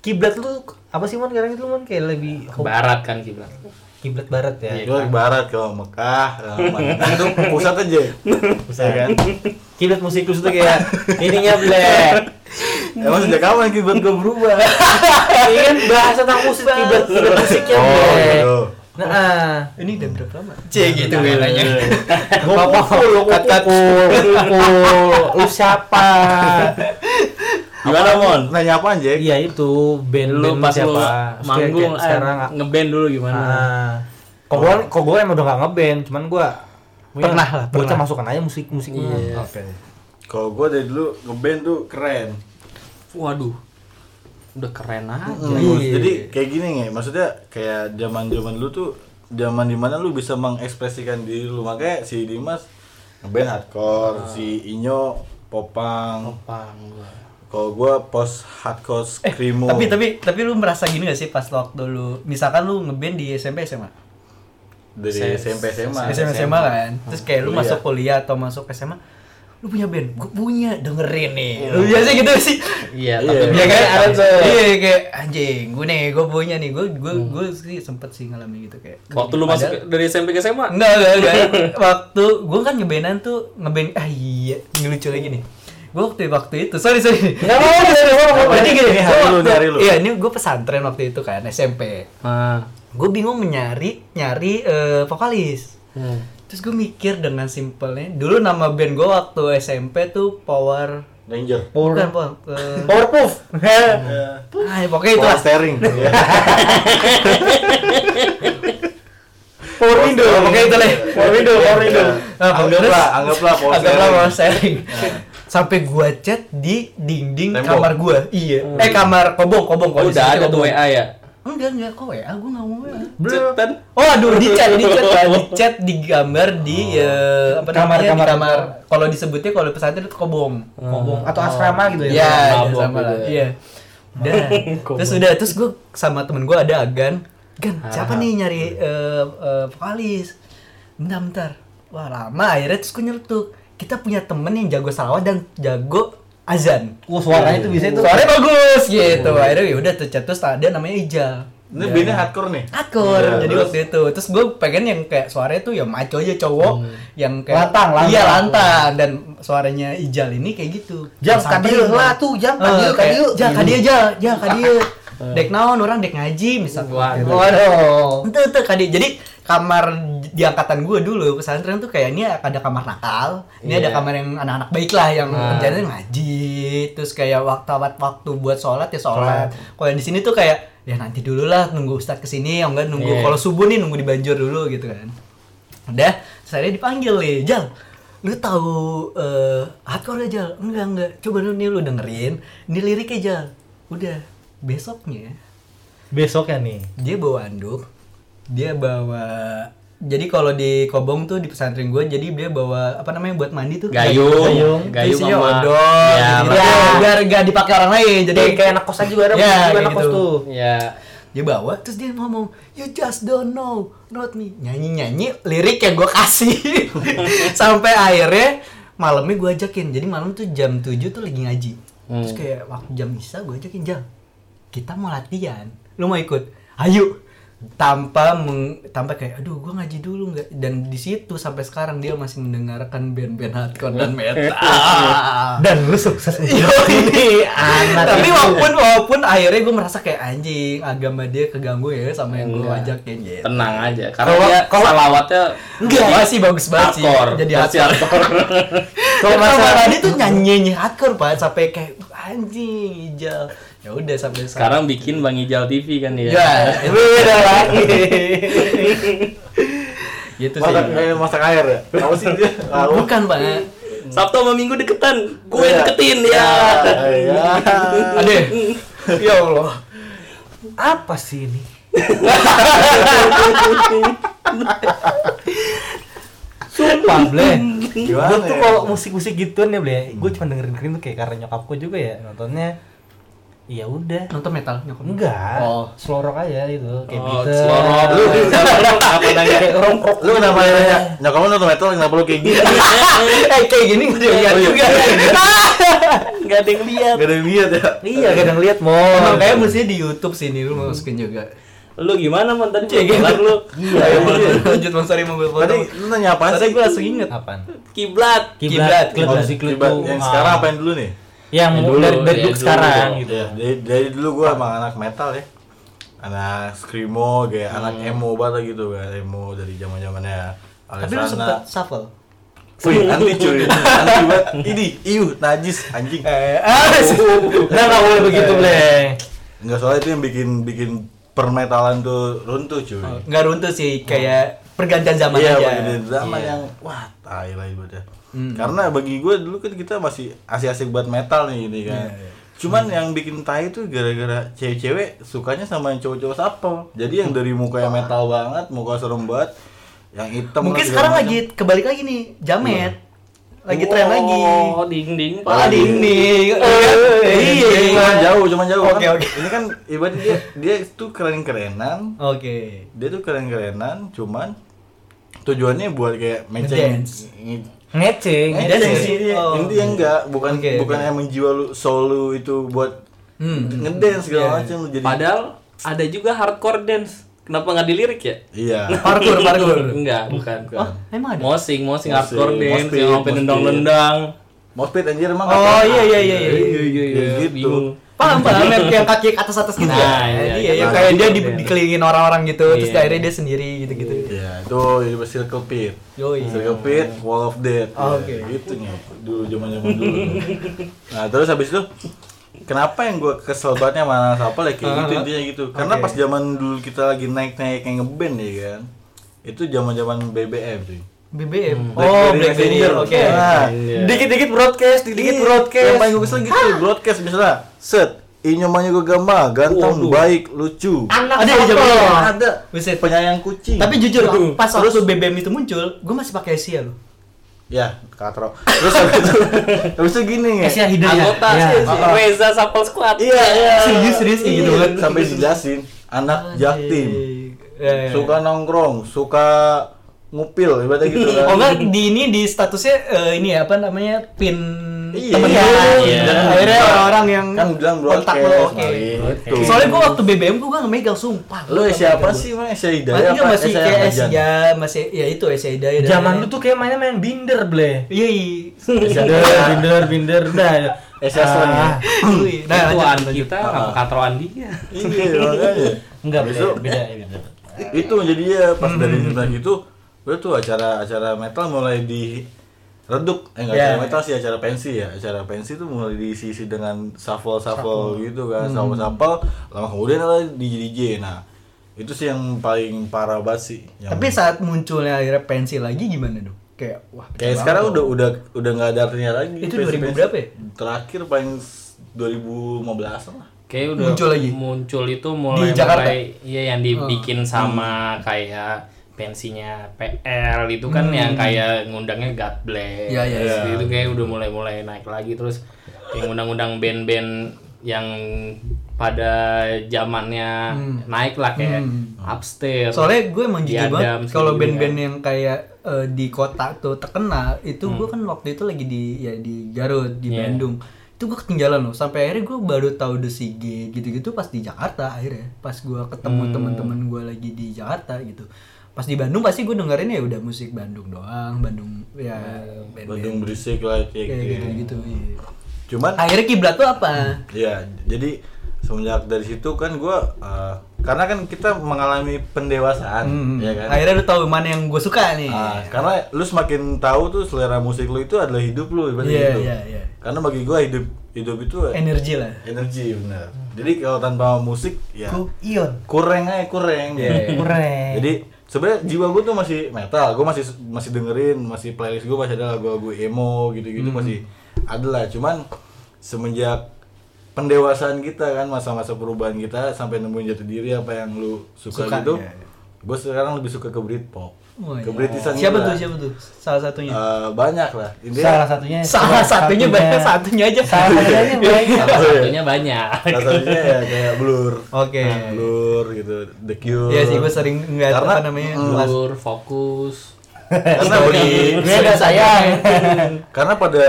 Speaker 1: Kiblat lu apa sih mon sekarang itu mon kayak lebih
Speaker 2: ke barat kan kiblat.
Speaker 1: kiblat barat ya.
Speaker 4: Iya.
Speaker 3: gue ke barat ke Mekah ke Madinah itu pusat aja pusat kan
Speaker 1: Kiblat musik lu tuh kayak ininya black.
Speaker 3: emang sejak kapan kiblat gue berubah
Speaker 1: Ini kan bahasa tentang musik ya, kiblat kiblat musiknya
Speaker 3: oh
Speaker 4: iya,
Speaker 1: black.
Speaker 3: gitu
Speaker 1: Nah, ah.
Speaker 4: Ini udah berapa lama?
Speaker 2: C gitu belanya.
Speaker 1: Bapak lu kat lu siapa?
Speaker 2: Gimana, Mon?
Speaker 3: nanya apaan Jack?
Speaker 1: Iya itu band
Speaker 2: Lu
Speaker 1: band
Speaker 2: pas
Speaker 1: siapa?
Speaker 2: lu
Speaker 1: Terus kayak-
Speaker 2: manggung
Speaker 1: kayak
Speaker 2: eh,
Speaker 1: sekarang
Speaker 2: ngeband dulu gimana?
Speaker 1: Ah. Kok gue kok gue emang udah gak ngeband, cuman gue
Speaker 4: Pernah lah,
Speaker 1: Gue
Speaker 4: pernah.
Speaker 1: masukkan aja musik
Speaker 2: Iya.
Speaker 1: musiknya.
Speaker 3: oke kalau gue dari dulu ngeband tuh keren
Speaker 2: ah, Waduh. Udah keren aja. Iya.
Speaker 3: Hmm, jadi kayak gini nih maksudnya kayak zaman zaman lu tuh zaman dimana lu bisa mengekspresikan diri lu makanya si Dimas ngeband hardcore si Inyo popang
Speaker 2: Pang gua.
Speaker 3: kalau gue post hardcore screamo
Speaker 4: Tapi tapi tapi lu merasa gini gak sih pas waktu lu misalkan lu ngeband di SMP SMA?
Speaker 3: dari SMP SMA
Speaker 4: SMA SMA kan. Terus kayak lu
Speaker 3: Kuliah.
Speaker 4: masuk kuliah atau masuk SMA lu punya band, gue punya, dengerin nih. Lu biasa gitu sih.
Speaker 3: Iya.
Speaker 2: Iya,
Speaker 3: Hmm.
Speaker 2: tapi
Speaker 3: Iya,
Speaker 2: dia
Speaker 4: Iya
Speaker 2: kayak
Speaker 4: kayak
Speaker 2: ada tuh.
Speaker 4: Iya kayak anjing, gue nih, gue punya nih, gue gue
Speaker 3: Hmm.
Speaker 4: gue sih sempet sih ngalami gitu kayak.
Speaker 2: kan Waktu lu masuk
Speaker 4: Padahal-
Speaker 2: ke- dari SMP ke SMA?
Speaker 4: Enggak, enggak, enggak. waktu gue kan ngebenan tuh ngeband ah iya, ngelucu lagi nih. Gue waktu waktu itu, sorry sorry.
Speaker 1: Enggak mau dari
Speaker 4: Jadi gini,
Speaker 3: Ini hari lu,
Speaker 4: gua waktu-
Speaker 3: ini hari lu.
Speaker 4: Iya, ini gue pesantren waktu itu kan SMP.
Speaker 2: Ah.
Speaker 4: Gue bingung nyari nyari eh, vokalis.
Speaker 2: Hmm.
Speaker 4: Terus gue mikir dengan simpelnya, dulu nama band gue waktu SMP tuh Power
Speaker 3: Ranger
Speaker 4: Bukan Power. eh,
Speaker 1: Powerpuff.
Speaker 4: ah, pokoknya itu
Speaker 3: power
Speaker 4: lah.
Speaker 3: steering Iya.
Speaker 1: Power
Speaker 3: Power
Speaker 1: Window.
Speaker 3: steering.
Speaker 1: Oke itu
Speaker 4: ya.
Speaker 1: lah. Power Window, Power Window.
Speaker 4: Nah,
Speaker 3: anggaplah
Speaker 4: terus-
Speaker 3: anggaplah power
Speaker 4: Agak
Speaker 3: steering Nah.
Speaker 4: lama sharing. Sampai gua chat di dinding
Speaker 3: Tembok. Hmm.
Speaker 4: kamar gua. Iya. Eh kamar kobong kobong
Speaker 2: Oh,
Speaker 4: kalau
Speaker 2: udah ada tuh WA ya?
Speaker 4: Enggak enggak kok WA gua enggak mau WA.
Speaker 2: Cetan.
Speaker 4: Oh aduh di chat di chat Pak. di chat di gambar di
Speaker 3: Oh.
Speaker 4: eh, apa
Speaker 1: Kamar, kamar.
Speaker 4: namanya di kamar. Kalau disebutnya kalau pesantren itu kobong.
Speaker 3: Hmm.
Speaker 1: Kobong atau asrama gitu
Speaker 4: Iya,
Speaker 1: ya.
Speaker 4: ya,
Speaker 2: mabok
Speaker 4: sama
Speaker 2: gitu
Speaker 4: lah.
Speaker 2: ya.
Speaker 4: Iya. Udah. terus udah terus gue sama temen gue ada Agan. Gan, siapa nih nyari eh, eh, vokalis? Bentar, bentar. Wah, lama akhirnya terus gue nyeletuk. Kita punya temen yang jago salawat dan jago azan.
Speaker 1: Wah, suaranya tuh bisa itu.
Speaker 4: Suaranya bagus gitu. Akhirnya ya udah tuh terus ada namanya Ijal.
Speaker 3: ini bandnya hardcore nih
Speaker 4: Akur,
Speaker 3: Iya,
Speaker 4: jadi
Speaker 3: terus?
Speaker 4: waktu itu terus gue pengen yang kayak suaranya tuh ya maco aja cowok yang kayak
Speaker 1: Hmm. Lantang, lantang.
Speaker 4: iya lantang dan suaranya Ijal ini kayak gitu
Speaker 1: Jang
Speaker 4: Sampai-
Speaker 1: kadieu lah tuh, jang Eh. kadieu
Speaker 4: Eh, kayak,
Speaker 1: kadieu.
Speaker 4: Jang kadieu Jal, Jang kadieu. Dek naon orang dek ngaji misal.
Speaker 1: Gitu.
Speaker 2: Waduh.
Speaker 4: Oh,
Speaker 1: Waduh.
Speaker 4: Itu tuh kadieu. Jadi kamar di angkatan gue dulu pesantren tuh kayak ini ada kamar nakal, ini
Speaker 2: Iya.
Speaker 4: ada
Speaker 2: Nah.
Speaker 4: kamar yang anak-anak baik lah yang kerjanya ngaji, terus kayak waktu waktu buat sholat ya sholat. Kalau yang di sini tuh kayak ya nanti dulu lah nunggu ustadz kesini, ya enggak nunggu
Speaker 2: Iya.
Speaker 4: kalau subuh nih nunggu di Banjur dulu gitu kan. Udah, saya dipanggil nih, Jal. Lu tahu eh hardcore gak, Jal? Enggak, enggak. Coba lu nih lu dengerin, ini liriknya Jal. Udah, besoknya
Speaker 1: Besoknya nih.
Speaker 4: dia bawa anduk, dia bawa jadi kalau di Kobong tuh di pesantren gue jadi dia bawa apa namanya buat mandi tuh
Speaker 2: Gayung,
Speaker 4: gayung
Speaker 2: gayung
Speaker 4: sama
Speaker 2: sama-
Speaker 4: odol
Speaker 2: Ya,
Speaker 4: gitu,
Speaker 1: betul.
Speaker 4: biar gak dipakai orang lain jadi
Speaker 1: Jadi kayak anak kos aja juga ada
Speaker 4: Ya,
Speaker 1: musik juga
Speaker 4: kayak
Speaker 1: anak kos
Speaker 4: gitu.
Speaker 1: tuh.
Speaker 2: Ya.
Speaker 4: dia bawa terus dia ngomong you just don't know not me nyanyi nyanyi lirik yang gue kasih sampai akhirnya malamnya gue ajakin jadi malam tuh jam 7 tuh lagi ngaji terus kayak waktu jam isa gue ajakin jam kita mau latihan lu mau ikut ayo tanpa meng, tanpa kayak aduh gue ngaji dulu nggak dan di situ sampai sekarang dia masih mendengarkan band-band hardcore dan metal
Speaker 1: Dan lu sukses.
Speaker 4: Yoi,
Speaker 1: Iya, anak
Speaker 4: Tapi
Speaker 1: itu.
Speaker 4: walaupun walaupun akhirnya gue merasa kayak anjing agama dia keganggu ya sama yang gue
Speaker 2: Enggak.
Speaker 4: ajakin gitu.
Speaker 2: tenang aja karena
Speaker 1: Kalau-
Speaker 2: dia
Speaker 1: kalau-
Speaker 2: salawatnya
Speaker 4: Enggak sih bagus banget sih.
Speaker 2: hardcore
Speaker 4: Jadi
Speaker 2: pasti
Speaker 4: hardcore.
Speaker 2: hardcore.
Speaker 4: Kalau
Speaker 1: Kalau
Speaker 4: masalah
Speaker 1: masalah-
Speaker 4: tadi tuh nyanyi nyanyi hardcore pak sampai kayak anjing hijau. Ya udah sampai
Speaker 2: sekarang bikin bang Ijal TV kan ya,
Speaker 4: Ya, beda lagi. gitu sih.
Speaker 3: masak eh, masak air ya apa sih dia tahu
Speaker 4: Bukan pak.
Speaker 2: Sabtu sama Minggu deketan gue
Speaker 3: Iya.
Speaker 2: deketin ya
Speaker 3: ya
Speaker 4: Ade. ya Allah.
Speaker 1: Apa sih ini? Sumpah, Ble.
Speaker 3: Gimana
Speaker 1: Gue tuh
Speaker 3: ya?
Speaker 1: kalau musik-musik gituan ya, Ble. Gue cuma dengerin dengerin tuh kayak karena nyokap gue juga ya nontonnya. Ya udah.
Speaker 4: Nonton metal nyokap.
Speaker 1: Enggak.
Speaker 4: Oh.
Speaker 1: Slow rock aja gitu, kayak
Speaker 2: Oh,
Speaker 1: Beatles.
Speaker 2: slow rock. Slow rock apa nanya?
Speaker 1: Kayak orang rock.
Speaker 3: Lu kenapa ya? nanya, Nyokap lu nonton metal kenapa lu kayak gitu?
Speaker 4: eh kayak gini gue juga lihat juga.
Speaker 1: Enggak ada yang lihat.
Speaker 3: Gak ada yang lihat ya?
Speaker 1: Iya, kadang lihat mau.
Speaker 4: Emang kayak mestinya di YouTube sini lu mau masukin juga.
Speaker 2: Lu gimana man tadi kiblat lu?
Speaker 4: Ayo lanjut Mas Ari mau foto.
Speaker 3: Tadi lu nanya apa
Speaker 4: Tadi
Speaker 3: sih?
Speaker 4: gue langsung inget.
Speaker 1: Apaan?
Speaker 2: Kiblat.
Speaker 1: Kiblat,
Speaker 3: Oh,
Speaker 1: kiblat, musik lu
Speaker 3: kibat.
Speaker 1: tuh,
Speaker 3: Yang
Speaker 1: ah.
Speaker 3: sekarang apa yang dulu nih?
Speaker 1: Yang
Speaker 2: Ya
Speaker 1: mau
Speaker 2: dulu,
Speaker 1: dari, dari
Speaker 2: ya
Speaker 1: dulu
Speaker 2: dulu.
Speaker 1: sekarang gitu.
Speaker 3: Iya, dari, dari dulu gua emang anak metal ya. Anak screamo kayak anak emo banget gitu kan, emo dari zaman-zamannya
Speaker 4: Tapi lu sempet
Speaker 3: Alexana.
Speaker 4: shuffle.
Speaker 3: Wih, anti cuy. Anti banget. Ini, iuh, najis anjing.
Speaker 1: Eh, ah, nah, nggak boleh begitu, Ble.
Speaker 3: Enggak soalnya itu yang bikin bikin permetalan tuh runtuh cuy.
Speaker 4: Enggak runtuh sih kayak pergantian zaman
Speaker 3: Iya,
Speaker 4: aja.
Speaker 3: bagi drama
Speaker 4: Iya. Hmm.
Speaker 3: yang wah tai lah ibaratnya. Karena bagi gue dulu kan kita masih asik-asik buat metal nih ini kan.
Speaker 4: Iya,
Speaker 3: Cuman
Speaker 4: Hmm.
Speaker 3: yang bikin tai itu gara-gara cewek-cewek sukanya sama yang cowok-cowok sapel. Jadi yang dari muka yang metal banget, muka serem banget, yang hitam. lah,
Speaker 4: Mungkin
Speaker 3: segala
Speaker 4: sekarang
Speaker 3: macam.
Speaker 4: lagi kebalik lagi nih, jamet. Lagi tren lagi.
Speaker 2: Oh, ding ding.
Speaker 4: Pala dinding.
Speaker 1: Eh.
Speaker 3: Iya, cuman
Speaker 4: Iya.
Speaker 3: jauh, cuman jauh.
Speaker 4: Oke,
Speaker 3: kan.
Speaker 4: oke.
Speaker 3: Ini kan ibaratnya dia dia tuh keren-kerenan.
Speaker 4: Oke.
Speaker 3: Dia tuh keren-kerenan, cuman tujuannya buat kayak meceng
Speaker 4: Ngedance.
Speaker 1: Ngeceng.
Speaker 2: gitu
Speaker 4: Eh,
Speaker 3: Ngedance
Speaker 2: ya.
Speaker 4: Ngedance
Speaker 3: sih
Speaker 4: sih.
Speaker 3: dia.
Speaker 4: Oh.
Speaker 3: Intinya enggak, bukan
Speaker 4: Oke,
Speaker 3: bukan
Speaker 4: oke.
Speaker 3: emang jiwa lu soul lu itu buat
Speaker 4: Hmm.
Speaker 3: ngedance segala
Speaker 4: Iya.
Speaker 3: macam lu jadi
Speaker 2: Padahal ada juga hardcore dance. Kenapa nggak dilirik ya?
Speaker 3: Iya.
Speaker 4: Parkur, parkur.
Speaker 2: Enggak, bukan.
Speaker 3: Bukan.
Speaker 4: Emang ada.
Speaker 2: Mosing,
Speaker 3: Mosing,
Speaker 2: mosing hardcore dance
Speaker 3: mospit,
Speaker 2: yang sampai
Speaker 3: mospit.
Speaker 2: nendang-nendang.
Speaker 3: Mospit anjir emang
Speaker 4: Oh iya iya iya iya.
Speaker 2: iya
Speaker 3: Kayak gitu.
Speaker 2: bingung.
Speaker 4: Paham paham yang yang kaki ke atas atas gitu.
Speaker 2: Nah, iya,
Speaker 4: ya? iya,
Speaker 2: iya.
Speaker 4: yang kayak dia di, dikelilingin orang-orang gitu, terus
Speaker 2: Iya.
Speaker 4: akhirnya dia sendiri gitu-gitu.
Speaker 3: Iya, itu jadi circle pit.
Speaker 4: Yoi.
Speaker 3: Circle pit, wall of death.
Speaker 4: Oh,
Speaker 3: Ya,
Speaker 4: oke.
Speaker 3: Gitu nih. Dulu zaman-zaman dulu. nah, terus habis itu Kenapa yang gue kesel banget sama anak Sapel ya kayak gitu intinya gitu. Karena
Speaker 4: Ah, Oke.
Speaker 3: pas zaman dulu kita lagi naik-naik kayak ngeband ya kan. Itu zaman-zaman BBM tuh.
Speaker 4: BBM.
Speaker 2: Hmm,
Speaker 3: Blackberry Messenger.
Speaker 4: Oh, Oke.
Speaker 3: Nah,
Speaker 4: Ah,
Speaker 1: Dikit-dikit broadcast, dikit-dikit
Speaker 3: Iya, Yang
Speaker 1: broadcast.
Speaker 3: paling gue kesel gitu, broadcast misalnya. Set, Inyomannya gue gama, ganteng, baik, lucu. Iya,
Speaker 1: Anak
Speaker 4: Ada di
Speaker 1: sapel.
Speaker 4: zaman itu.
Speaker 3: Ada.
Speaker 4: Buset.
Speaker 3: Penyayang kucing.
Speaker 4: Tapi jujur,
Speaker 2: Iya. Aduh.
Speaker 4: pas waktu BBM itu muncul, gue masih pakai Asia loh.
Speaker 3: ya, katro. Terus habis itu, habis itu gini ya.
Speaker 4: Eh,
Speaker 1: Asia Hidayah.
Speaker 2: Anggota
Speaker 1: Iya.
Speaker 2: Reza Sapel Squad.
Speaker 3: Iya, iya.
Speaker 4: Serius, serius, kayak gitu
Speaker 3: Iya,
Speaker 4: banget.
Speaker 3: Sampai dijelasin anak jaktim.
Speaker 4: Eh.
Speaker 3: Suka nongkrong, suka ngupil ibaratnya gitu kan.
Speaker 4: Oh enggak di ini di statusnya eh, ini ya, apa namanya pin
Speaker 3: Iya.
Speaker 4: temen lu.
Speaker 2: Iya.
Speaker 4: Akhirnya orang-orang yang
Speaker 3: kan bilang
Speaker 4: kontak
Speaker 3: broadcast.
Speaker 4: lo oke.
Speaker 3: nah, gitu.
Speaker 4: Soalnya gue waktu BBM gue gak megang sumpah.
Speaker 3: lu siapa sih emang Asia
Speaker 4: Masih
Speaker 3: Hidayah?
Speaker 4: nggak,
Speaker 3: apa
Speaker 4: masih
Speaker 3: Asia
Speaker 4: kayak
Speaker 3: Ahmad Jan?
Speaker 4: Asia, masih ya itu Asia Hidayah. dan
Speaker 1: Zaman lu
Speaker 4: lain-lain.
Speaker 1: tuh kayak mainnya main binder, Ble.
Speaker 4: Iya.
Speaker 3: Asia
Speaker 1: Binder,
Speaker 3: Hidayah.
Speaker 1: binder, binder, udah.
Speaker 3: Asia Slang ya.
Speaker 1: Ah,
Speaker 4: iya.
Speaker 2: itu
Speaker 4: Nah, lanjut,
Speaker 2: an
Speaker 4: lanjut.
Speaker 2: kita sama katroan dia.
Speaker 3: Iya, makanya.
Speaker 1: Enggak,
Speaker 3: Habis
Speaker 1: beda,
Speaker 3: itu-
Speaker 1: beda, beda.
Speaker 3: itu jadi ya pas
Speaker 4: Hmm.
Speaker 3: dari cerita gitu gue tuh acara acara metal mulai di redup eh enggak
Speaker 1: Ya.
Speaker 3: acara metal sih acara pensi ya acara pensi tuh mulai diisi dengan shuffle shuffle gitu kan
Speaker 4: Hmm.
Speaker 3: shuffle shuffle lama kemudian ada DJ DJ nah itu sih yang paling parah banget sih yang
Speaker 4: Tapi saat munculnya akhirnya pensi lagi gimana dong? Kayak wah.
Speaker 3: kayak sekarang udah udah udah nggak ada artinya lagi
Speaker 4: Itu
Speaker 3: pensi-
Speaker 4: 2000
Speaker 3: pensi.
Speaker 4: berapa ya?
Speaker 3: terakhir paling s- 2015 lah
Speaker 2: Kayak udah
Speaker 4: Muncul lagi?
Speaker 2: Muncul itu mulai
Speaker 4: Jakarta? Ah.
Speaker 2: mulai iya yang dibikin sama kayak pensinya PL itu kan
Speaker 4: Hmm.
Speaker 2: yang kayak ngundangnya God Bless.
Speaker 4: Iya, iya,
Speaker 3: iya.
Speaker 2: Itu kayak udah mulai-mulai naik lagi terus yang ngundang-ngundang band-band yang pada zamannya naik lah kayak upstairs.
Speaker 4: Hmm. Soalnya gue emang jujur
Speaker 2: Iya, Diadam,
Speaker 4: banget
Speaker 2: segala
Speaker 4: kalau
Speaker 2: gitu
Speaker 4: band-band
Speaker 2: kan.
Speaker 4: yang kayak eh, di kota tuh terkenal itu gue kan waktu itu lagi di ya di Garut di
Speaker 2: Iya.
Speaker 4: Bandung itu gue ketinggalan loh sampai akhirnya gue baru tahu The Sige gitu-gitu pas di Jakarta akhirnya pas gue ketemu teman-teman gue lagi di Jakarta gitu pas di Bandung pasti gue dengerin ya udah musik Bandung doang Bandung ya band-band
Speaker 3: Bandung berisik lah kayak
Speaker 4: kayak
Speaker 3: gitu ya.
Speaker 4: gitu-gitu iya.
Speaker 3: cuman
Speaker 4: akhirnya kiblat tuh apa
Speaker 3: Iya, jadi semenjak dari situ kan gua eh, karena kan kita mengalami pendewasaan,
Speaker 4: Hmm.
Speaker 3: ya kan.
Speaker 4: akhirnya iya. lu tahu mana yang gue suka nih
Speaker 3: Ah, karena lu semakin tahu tuh selera musik lu itu adalah hidup lu, ibaratnya
Speaker 4: Iya,
Speaker 3: gitu.
Speaker 4: iya, iya.
Speaker 3: Karena bagi gua hidup hidup itu
Speaker 4: energi lah
Speaker 3: energi benar. Jadi kalau tanpa musik ya
Speaker 1: Ku Ion.
Speaker 3: kurang aja kurang.
Speaker 4: Iya,
Speaker 3: ya.
Speaker 1: Kurang.
Speaker 3: Jadi sebenarnya jiwa gua tuh masih metal, gua masih masih dengerin, masih playlist gua masih ada lagu-lagu emo gitu-gitu
Speaker 4: Hmm.
Speaker 3: masih ada lah. Cuman semenjak pendewasaan kita kan masa-masa perubahan kita sampai nemuin jati diri apa yang lu suka,
Speaker 4: Suka,
Speaker 3: gitu.
Speaker 4: iya, iya.
Speaker 3: Gue sekarang lebih suka ke Britpop.
Speaker 4: Wah, iya.
Speaker 3: Kebritisan
Speaker 4: siapa
Speaker 3: gila.
Speaker 4: tuh Iya. siapa tuh salah satunya
Speaker 3: Eh, banyak lah intinya
Speaker 1: salah satunya
Speaker 2: Iya,
Speaker 4: salah satunya banyak satunya aja Iya.
Speaker 1: salah satunya banyak
Speaker 2: Salah satunya banyak.
Speaker 3: salah satunya ya kayak blur
Speaker 4: Oke.
Speaker 3: Nah, blur gitu the cure
Speaker 4: Iya sih gue sering nggak
Speaker 3: Karena,
Speaker 4: apa namanya
Speaker 3: mm,
Speaker 4: kelas.
Speaker 2: Blur, fokus.
Speaker 3: karena bagi-
Speaker 1: beda sayang
Speaker 3: karena pada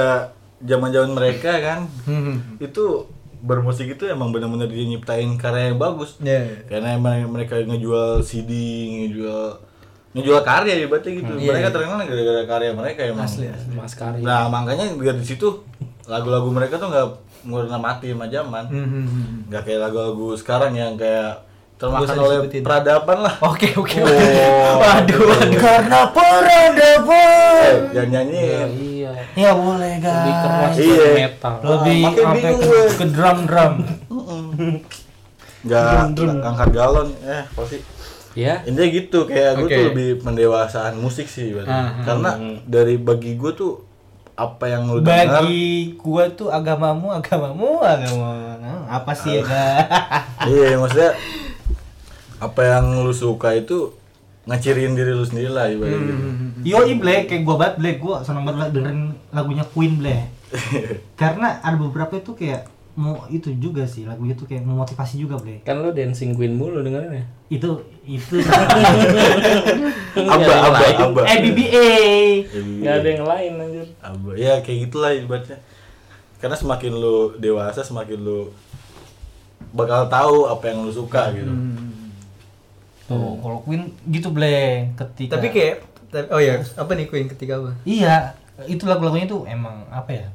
Speaker 3: zaman zaman mereka kan
Speaker 4: Hmm.
Speaker 3: itu bermusik itu emang benar-benar dia nyiptain karya yang bagus
Speaker 4: Iya.
Speaker 3: karena emang mereka ngejual CD ngejual ngejual karya ibaratnya gitu mereka terkenal gara-gara karya mereka emang
Speaker 4: Hmm. Iya, Asli, asli.
Speaker 2: Maskari.
Speaker 3: nah makanya dari situ lagu-lagu mereka tuh nggak murna mati sama zaman
Speaker 4: Hmm, hmm, hmm.
Speaker 3: nggak kayak lagu-lagu sekarang yang kayak
Speaker 4: Nggak
Speaker 3: termakan
Speaker 4: usah
Speaker 3: oleh
Speaker 4: disebutin.
Speaker 3: peradaban lah
Speaker 4: Oke oke.
Speaker 3: Oh.
Speaker 4: oke. Waduh waduh.
Speaker 1: karena peradaban
Speaker 3: Eh, yang
Speaker 2: Ya,
Speaker 3: nyanyi
Speaker 2: iya.
Speaker 1: ya boleh
Speaker 2: Lebih keras
Speaker 1: guys
Speaker 3: Iya.
Speaker 2: dan metal.
Speaker 1: lebih
Speaker 3: Ah, makin
Speaker 1: sampai
Speaker 3: bingung
Speaker 1: ke,
Speaker 3: gue.
Speaker 1: ke drum drum
Speaker 3: nggak angkat galon eh pasti
Speaker 2: Ya.
Speaker 3: intinya gitu kayak gue
Speaker 4: Oke.
Speaker 3: tuh lebih pendewasaan musik sih berarti.
Speaker 4: Ah,
Speaker 3: karena dari bagi gue tuh apa yang lu dengar
Speaker 1: bagi gua tuh agamamu agamamu agama apa sih ya Kak?
Speaker 3: iya maksudnya apa yang lu suka itu ngecirin diri lu sendiri lah ibaratnya gitu.
Speaker 1: Yoi Black, kayak gua banget Black, gua seneng banget dengerin lagunya Queen Black Karena ada beberapa itu kayak mau itu juga sih, lagunya tuh kayak memotivasi juga Black
Speaker 2: Kan lu dancing queen mulu dengerin ya?
Speaker 1: Itu, itu
Speaker 3: aba
Speaker 2: Nggak
Speaker 3: aba
Speaker 2: ada yang lain.
Speaker 3: aba
Speaker 1: Eh,
Speaker 3: Iya,
Speaker 1: ABBA
Speaker 2: Nggak ada yang lain anjir.
Speaker 3: aba ya kayak gitulah ibaratnya karena semakin lu dewasa semakin lu bakal tahu apa yang lu suka gitu
Speaker 1: Tuh, kalau Queen gitu Black, ketika
Speaker 4: Iya. Tapi kayak tapi- oh ya apa nih Queen ketika apa?
Speaker 1: Iya, itu lagu-lagunya tuh emang apa ya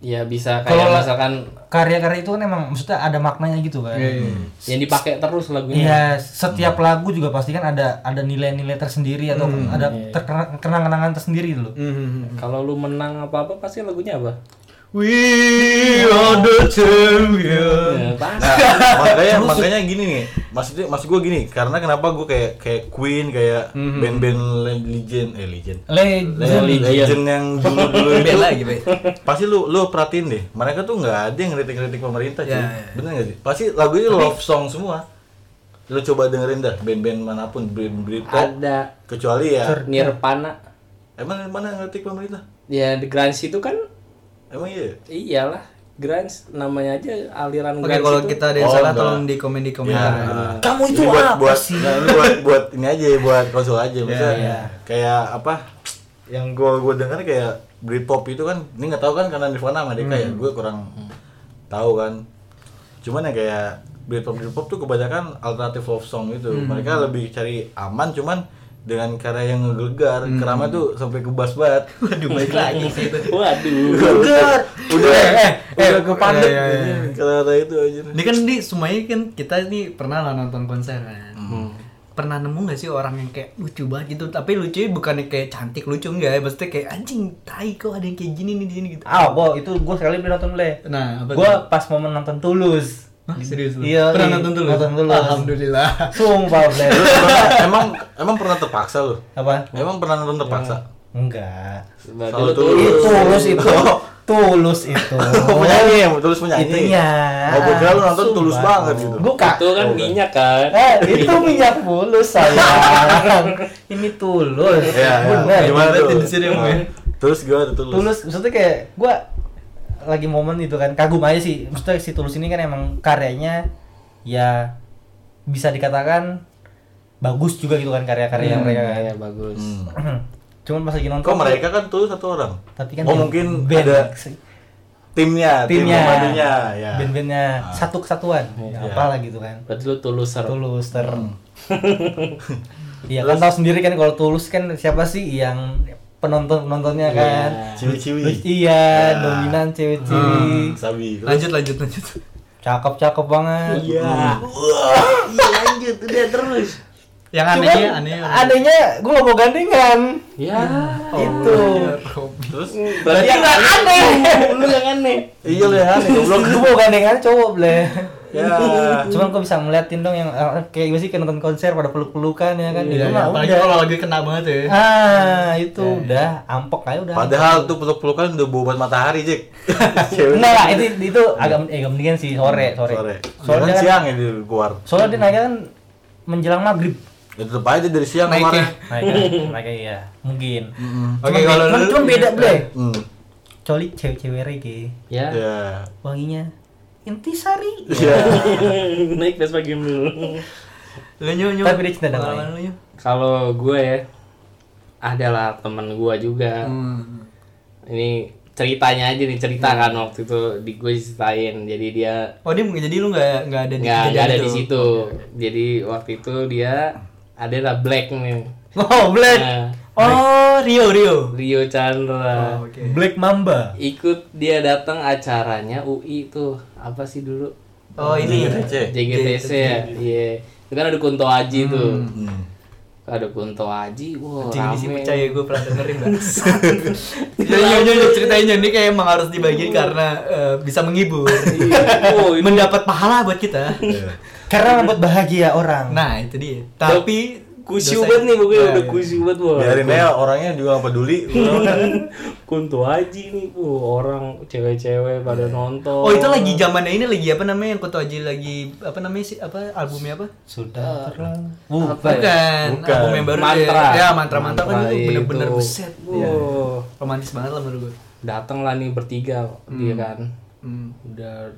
Speaker 2: Ya bisa kayak
Speaker 1: Kalau la-
Speaker 2: misalkan
Speaker 1: Karya-karya itu kan emang, maksudnya ada maknanya gitu kan
Speaker 4: Iya, iya.
Speaker 2: yang dipakai terus lagunya.
Speaker 1: Iya, setiap lagu juga pasti kan ada ada nilai-nilai tersendiri atau ada
Speaker 4: Iya.
Speaker 1: terkena- kenang-kenangan tersendiri gitu loh.
Speaker 4: Hmm, hmm, hmm.
Speaker 2: Kalau lu menang apa-apa pasti lagunya apa?
Speaker 4: We are the champion.
Speaker 2: Ya,
Speaker 3: Nah,
Speaker 2: pasti.
Speaker 3: makanya makanya gini nih maksudnya maksud gue gini karena kenapa gue kayak kayak Queen kayak
Speaker 4: Mhm.
Speaker 3: band-band le- legend eh legend
Speaker 4: Iya,
Speaker 1: Le
Speaker 3: Le-
Speaker 2: Legend.
Speaker 3: legend yang dulu dulu itu
Speaker 4: Bela lagi, Bay.
Speaker 3: pasti lu lu perhatiin deh mereka tuh nggak ada yang kritik-kritik pemerintah cuy
Speaker 4: Ya, ya.
Speaker 3: bener nggak sih pasti lagunya love song semua lu coba dengerin dah band-band manapun band Britpop
Speaker 2: Ada
Speaker 3: kecuali ya
Speaker 2: Nirvana.
Speaker 3: emang mana yang kritik pemerintah
Speaker 2: Ya di grunge itu kan
Speaker 3: emang iya
Speaker 2: iyalah grunge namanya aja aliran
Speaker 4: Oke,
Speaker 2: grunge
Speaker 4: kalau
Speaker 2: itu.
Speaker 4: kita ada yang
Speaker 3: Oh,
Speaker 4: salah
Speaker 3: enggak.
Speaker 4: tolong Iya. di komen Nah, di komentar.
Speaker 3: Ya.
Speaker 1: Kamu itu
Speaker 3: Ini buat,
Speaker 1: apa
Speaker 3: buat,
Speaker 1: sih?
Speaker 3: nah, ini buat buat ini aja ya, buat konsul aja
Speaker 4: Iya,
Speaker 3: maksudnya
Speaker 1: ya.
Speaker 3: kayak apa yang gua gua dengar kayak Britpop itu kan ini nggak tahu kan karena Nirvana sama Deka ya
Speaker 4: Hmm.
Speaker 3: gue kurang tahu kan cuman ya kayak Britpop Britpop tuh kebanyakan alternatif love song gitu
Speaker 4: Hmm.
Speaker 3: mereka lebih cari aman cuman dengan karya yang gelegar kerama tuh sampai kebas banget
Speaker 4: Hmm. Waduh, baik lagi sih itu.
Speaker 2: Waduh.
Speaker 3: udah udah
Speaker 4: eh, eh,
Speaker 3: udah kepadet
Speaker 4: iya, iya, iya.
Speaker 3: anjing, kata-kata itu aja
Speaker 4: Ini kan di semuanya kan kita nih pernah lah nonton konser kan. Pernah nemu gak sih orang yang kayak lucu banget gitu, tapi lucunya bukannya kayak cantik lucu enggak ya, maksudnya kayak anjing tai kok ada yang kayak gini nih di sini gitu.
Speaker 1: Ah, gua itu gua sekali beli nonton Le.
Speaker 4: Nah, apa
Speaker 1: Gua pas momen nonton Tulus.
Speaker 4: Hah, serius lu?
Speaker 1: Iya, iya.
Speaker 4: Pernah nonton dulu?
Speaker 1: Nonton dulu.
Speaker 4: Alhamdulillah.
Speaker 1: Sumpah Le.
Speaker 3: Lu emang emang emang pernah terpaksa lu
Speaker 1: Apa?
Speaker 3: emang pernah nonton terpaksa
Speaker 1: Enggak.
Speaker 2: Berarti
Speaker 3: Kalau
Speaker 2: lu
Speaker 3: tulus.
Speaker 2: tulus.
Speaker 1: Tulus itu. Tulus itu.
Speaker 3: Oh, penyanyi ya, tulus penyanyi.
Speaker 1: Itunya.
Speaker 3: Oh, gue kira lu nonton
Speaker 1: Sumpah.
Speaker 3: tulus banget gitu.
Speaker 1: Bukan.
Speaker 2: Itu kan minyak kan.
Speaker 1: Eh, itu minyak bulus sayang. Ini tulus.
Speaker 3: Iya, iya.
Speaker 1: Bener.
Speaker 3: Gimana tuh?
Speaker 4: Berarti di sini, ya?
Speaker 3: Nah,
Speaker 4: Bang.
Speaker 3: Tulus gimana tuh tulus?
Speaker 1: Tulus maksudnya kayak gua lagi momen itu kan kagum aja sih maksudnya si Tulus ini kan emang karyanya ya bisa dikatakan bagus juga gitu kan karya-karya mereka kan.
Speaker 2: Ya bagus.
Speaker 3: Hmm.
Speaker 1: cuman pas lagi nonton
Speaker 3: Kok mereka kan tulus satu orang?
Speaker 1: tapi kan
Speaker 3: oh
Speaker 1: band-
Speaker 3: mungkin
Speaker 1: band,
Speaker 3: ada
Speaker 1: sih.
Speaker 3: timnya,
Speaker 1: timnya
Speaker 3: tim pemandunya, ya.
Speaker 1: band-bandnya satu kesatuan ya,
Speaker 3: Iya.
Speaker 1: apalah gitu kan
Speaker 2: Berarti lu tuluser.
Speaker 1: Tulus ter Iya kan tahu sendiri kan kalau Tulus kan siapa sih yang penonton penontonnya kan
Speaker 3: Iya. Ciwi-ciwi.
Speaker 1: Lu- iya
Speaker 3: Ya. Hmm.
Speaker 1: dominan cewek-cewek
Speaker 3: Sabi. Terus-
Speaker 4: Lanjut lanjut lanjut.
Speaker 1: cakep cakep banget Hmm.
Speaker 2: Iya. Iya lanjut udah terus.
Speaker 4: Yang
Speaker 1: Cuman
Speaker 4: anehnya anehnya. Oh,
Speaker 1: anehnya gue gak mau Gitu. gandengan
Speaker 2: Ya.
Speaker 1: itu
Speaker 4: iya.
Speaker 3: Terus
Speaker 2: Berarti
Speaker 1: Ya,
Speaker 2: yang aneh. Lu yang aneh.
Speaker 3: iya lu ya, goblok.
Speaker 1: gue mau gandengan cowok bleh
Speaker 3: Ya.
Speaker 1: cuman kok bisa ngeliatin dong yang eh, kayak gue sih kayak nonton konser pada peluk-pelukan ya kan
Speaker 4: Iya,
Speaker 1: itu
Speaker 4: iya.
Speaker 1: mah
Speaker 4: apalagi
Speaker 1: udah
Speaker 4: kalau lagi kena banget ya.
Speaker 1: ah itu
Speaker 4: iya.
Speaker 1: udah ampok aja udah
Speaker 3: Padahal tuh peluk-pelukan udah bau banget matahari, Jack.
Speaker 4: ya
Speaker 3: Cewek.
Speaker 1: enggak lah itu itu agak eh, agak mendingan
Speaker 4: Hmm,
Speaker 1: sih Nah, sore sore
Speaker 3: Sore. Iya
Speaker 1: soalnya
Speaker 3: Soalnya
Speaker 1: kan-
Speaker 3: siang ya di luar.
Speaker 1: soalnya dia naiknya kan menjelang maghrib
Speaker 3: Ya tetep aja dari siang
Speaker 4: Naiknya.
Speaker 1: ya?
Speaker 3: kemarin.
Speaker 1: mereka mereka iya mungkin
Speaker 3: Mm-mm.
Speaker 1: Cuma
Speaker 4: Hmm. Oke, kalau
Speaker 1: be-
Speaker 4: lu-
Speaker 1: cuma beda bre
Speaker 3: Hmm.
Speaker 1: colik cewek-cewek reggae
Speaker 2: Ya.
Speaker 4: Iya.
Speaker 3: Ya.
Speaker 1: wanginya intisari
Speaker 3: Ya.
Speaker 2: Naik Vespa game dulu.
Speaker 4: Lu nyu nyu.
Speaker 1: Tapi dia cinta damai.
Speaker 4: Pengalaman lu nyu.
Speaker 2: Kalau gue ya adalah temen gue juga.
Speaker 4: Hmm.
Speaker 2: Hmm. Ini ceritanya aja nih
Speaker 4: Hmm.
Speaker 2: cerita kan waktu itu di gue ceritain. Jadi dia
Speaker 4: Oh dia mungkin jadi lu nggak nggak ada di
Speaker 2: nggak nggak
Speaker 4: kejadian
Speaker 2: ada
Speaker 4: itu.
Speaker 2: di situ. Jadi waktu itu dia adalah Black nih.
Speaker 1: oh black
Speaker 2: Nah,
Speaker 4: Oh Rio Rio.
Speaker 2: Rio Chandra.
Speaker 4: Oh, Oke.
Speaker 1: black mamba
Speaker 2: Ikut dia datang acaranya UI tuh apa sih dulu?
Speaker 4: Oh
Speaker 3: ya,
Speaker 4: ini.
Speaker 3: JGTC.
Speaker 2: JGTC ya. Iya. Itu kan ada Kunto Aji tuh.
Speaker 3: Hmm.
Speaker 2: Ada Kunto Aji, wah
Speaker 4: iya. Anjing ini sih
Speaker 2: rame.
Speaker 4: percaya gue pernah dengerin mbak Jadi nyu nyu nyu, ceritain Nyu. ini kayak emang harus
Speaker 2: Hmm.
Speaker 4: dibagiin karena eh, bisa menghibur
Speaker 2: Oh, ini
Speaker 4: Mendapat pahala buat kita
Speaker 3: Ya.
Speaker 1: karena membuat bahagia orang
Speaker 4: Nah itu dia Tapi
Speaker 2: kusyu banget nih pokoknya udah
Speaker 4: iya.
Speaker 2: kusyu banget wah.
Speaker 3: Biarin aja orangnya juga gak peduli.
Speaker 2: Kunto Aji nih, wah orang cewek-cewek pada nonton.
Speaker 4: Oh itu lagi zamannya ini lagi apa namanya yang Koto Aji lagi apa namanya sih apa albumnya apa?
Speaker 1: sudah terlalu
Speaker 2: apa ya?
Speaker 4: Bukan,
Speaker 3: Bukan.
Speaker 4: album yang baru
Speaker 2: mantra.
Speaker 4: dia. Ya mantra-mantra
Speaker 2: Nah,
Speaker 4: kan
Speaker 2: iya,
Speaker 4: itu bener-bener buset.
Speaker 2: Wah,
Speaker 4: Iya. Romantis banget lah menurut gue.
Speaker 2: datang lah nih bertiga dia kan.
Speaker 4: Hmm.
Speaker 2: Udah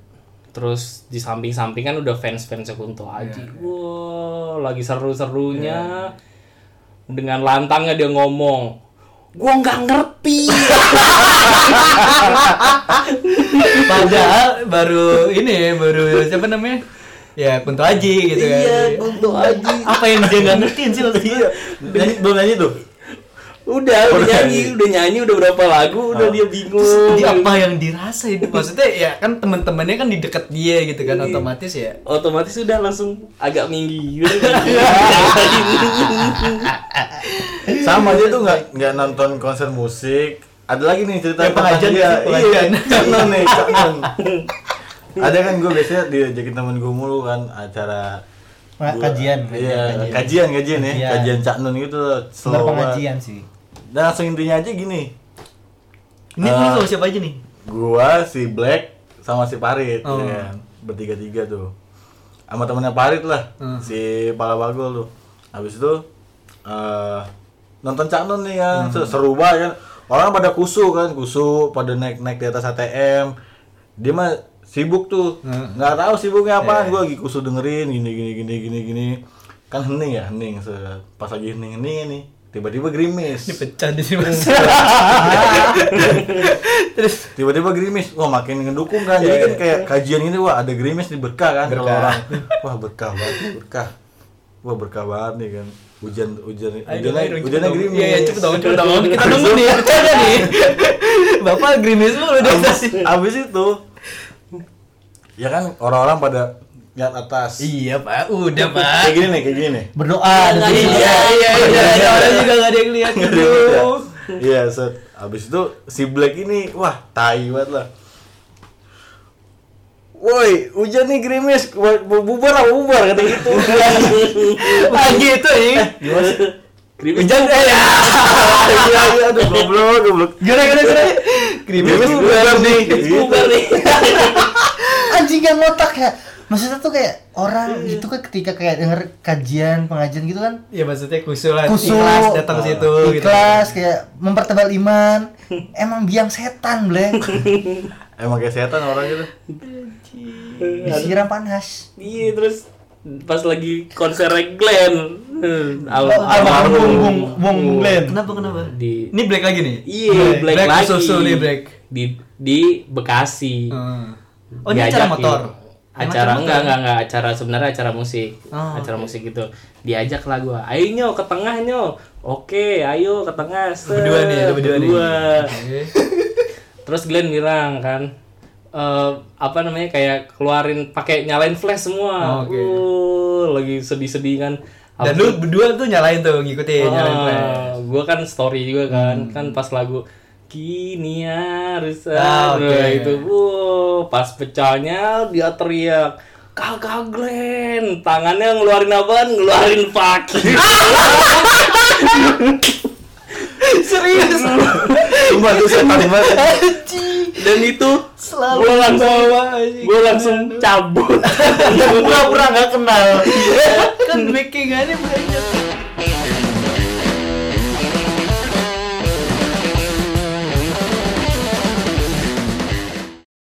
Speaker 2: terus di samping-samping kan udah fans-fansnya Kunto Aji. Wah, lagi seru-serunya. Dengan lantangnya dia ngomong, gua nggak ngerti.
Speaker 4: Padahal baru ini ya, baru siapa namanya? Ya Kunto Aji gitu kan.
Speaker 2: Iya, Kunto Aji. Iya.
Speaker 4: Apa yang dia nggak ngertiin sih maksudnya?
Speaker 3: Nyanyi- Belum nyanyi tuh.
Speaker 2: Udah, udah nyanyi, udah nyanyi, udah berapa lagu, udah dia bingung.
Speaker 4: Terus dia apa yang dirasain? Maksudnya ya kan teman-temannya kan di dekat dia gitu
Speaker 2: Iya.
Speaker 4: kan otomatis
Speaker 2: Ah.
Speaker 4: ya.
Speaker 2: Otomatis udah langsung agak minggi.
Speaker 3: Sama dia tuh nggak nggak nonton konser musik. Ada lagi nih cerita
Speaker 4: Kayak
Speaker 3: dia.
Speaker 4: pengajian nggak sih, pengajian?
Speaker 3: Iya, Cak Non nih, Cak Non. Ada kan gue biasanya diajakin temen gue mulu kan acara
Speaker 1: Nah,
Speaker 3: gua-
Speaker 1: kajian, kajian.
Speaker 3: Iya, kajian, kajian ya.
Speaker 1: Kajian.
Speaker 3: Kajian Cak Non gitu
Speaker 1: Bener
Speaker 3: slow. banget.
Speaker 1: pengajian sih
Speaker 3: Dan langsung intinya aja gini.
Speaker 4: Ini
Speaker 3: Eh.
Speaker 4: ini sama siapa aja nih?
Speaker 3: Gua si Black sama si Parit
Speaker 4: Oh.
Speaker 3: ya kan? bertiga-tiga tuh. Sama temennya Parit lah,
Speaker 4: Hmm.
Speaker 3: si Pala Bagol tuh. Habis itu eh nonton Cak Nun nih kan,
Speaker 4: Hmm.
Speaker 3: seru- seru banget kan. Orang pada kusu kan, kusu pada naik-naik di atas ATM. Dia mah sibuk tuh.
Speaker 4: Hmm.
Speaker 3: nggak tahu sibuknya apaan. Gua lagi kusu dengerin gini gini gini gini gini. Kan hening ya, hening. Se- Pas lagi hening-hening nih, tiba-tiba gerimis.
Speaker 4: Dipecah di sini. Mas.
Speaker 3: tiba-tiba gerimis wah makin ngedukung kan
Speaker 4: Iya,
Speaker 3: jadi kan kayak kajian ini wah ada gerimis nih berkah kan kalau orang wah berkah banget berkah wah berkah banget nih kan hujan hujan
Speaker 4: Ayo, ayo,
Speaker 3: hujannya hujannya
Speaker 4: dong, cepet dong.
Speaker 3: gerimis
Speaker 4: Iya, iya, cepet dong, cepet dong. Kita nunggu nih, bercanda nih. Bapak gerimis mulu di atas.
Speaker 3: abis, abis itu ya kan orang-orang pada lihat atas
Speaker 4: Iya, Pak. Udah, Pak.
Speaker 3: kayak gini nih kayak gini nih
Speaker 1: berdoa dan
Speaker 4: Iya, iya, iya, iya. iya. Orang juga gak ada yang lihat gitu.
Speaker 3: Iya, set. Abis itu si Black ini, wah, tai banget lah. Woi, hujan nih gerimis, Bu- bubar lah bubar kata gitu.
Speaker 4: Ah, gitu, ya.
Speaker 3: Gimana sih?
Speaker 2: Hujan
Speaker 4: ya.
Speaker 3: Iya, iya, aduh goblok, goblok.
Speaker 4: Gimana, gimana, gimana? Gerimis bubar nih.
Speaker 2: bubar nih.
Speaker 1: anjing yang ngotak ya maksudnya tuh kayak orang gitu kan ketika kayak denger kajian pengajian gitu kan
Speaker 4: Ya maksudnya kusuk lah,
Speaker 1: Kusuk.
Speaker 4: ikhlas datang situ gitu.
Speaker 1: ikhlas kayak mempertebal iman emang biang setan black
Speaker 3: Emang kayak setan orang gitu.
Speaker 1: disiram panas
Speaker 2: Iya, terus pas lagi konser Glenn. hmm,
Speaker 4: Oh,
Speaker 1: almarhum Bung Bung Glenn
Speaker 4: Kenapa, kenapa?
Speaker 2: Di-
Speaker 4: Ini black lagi nih?
Speaker 2: Iya, Black, lagi.
Speaker 4: Kusuk nih, black.
Speaker 2: Di di Bekasi.
Speaker 4: Hmm. Oh, ini acara
Speaker 2: Diajakin.
Speaker 4: motor? Emang
Speaker 2: Acara enggak
Speaker 4: motor?
Speaker 2: enggak enggak acara sebenarnya acara musik.
Speaker 4: Oh,
Speaker 2: acara musik gitu. Diajak lah gua. Ayo nyo ke tengah nyo. Oke, ayo ke tengah. set.
Speaker 4: Berdua nih, ada berdua nih.
Speaker 2: Berdua.
Speaker 4: Oke.
Speaker 2: Terus Glenn bilang kan eh, apa namanya kayak keluarin pakai nyalain flash semua.
Speaker 4: Oh, oke.
Speaker 2: Uh, lagi sedih-sedih kan.
Speaker 4: Dan lu berdua tuh nyalain tuh, ngikutin, nyalain Hmm. play.
Speaker 2: gue kan story juga kan, kan pas lagu kini harus
Speaker 4: Ah,
Speaker 2: ada."
Speaker 4: oke.
Speaker 2: itu, wow, pas pecahnya dia teriak kakak Glenn, tangannya ngeluarin apaan? Ngeluarin paki.
Speaker 1: Serius.
Speaker 3: Sumpah tuh setan banget.
Speaker 2: dan itu
Speaker 1: Selalu
Speaker 2: gue langsung
Speaker 1: dibawa, anjing.
Speaker 2: gue langsung cabut
Speaker 1: Pura-pura nggak kenal.
Speaker 4: kan backingannya banyak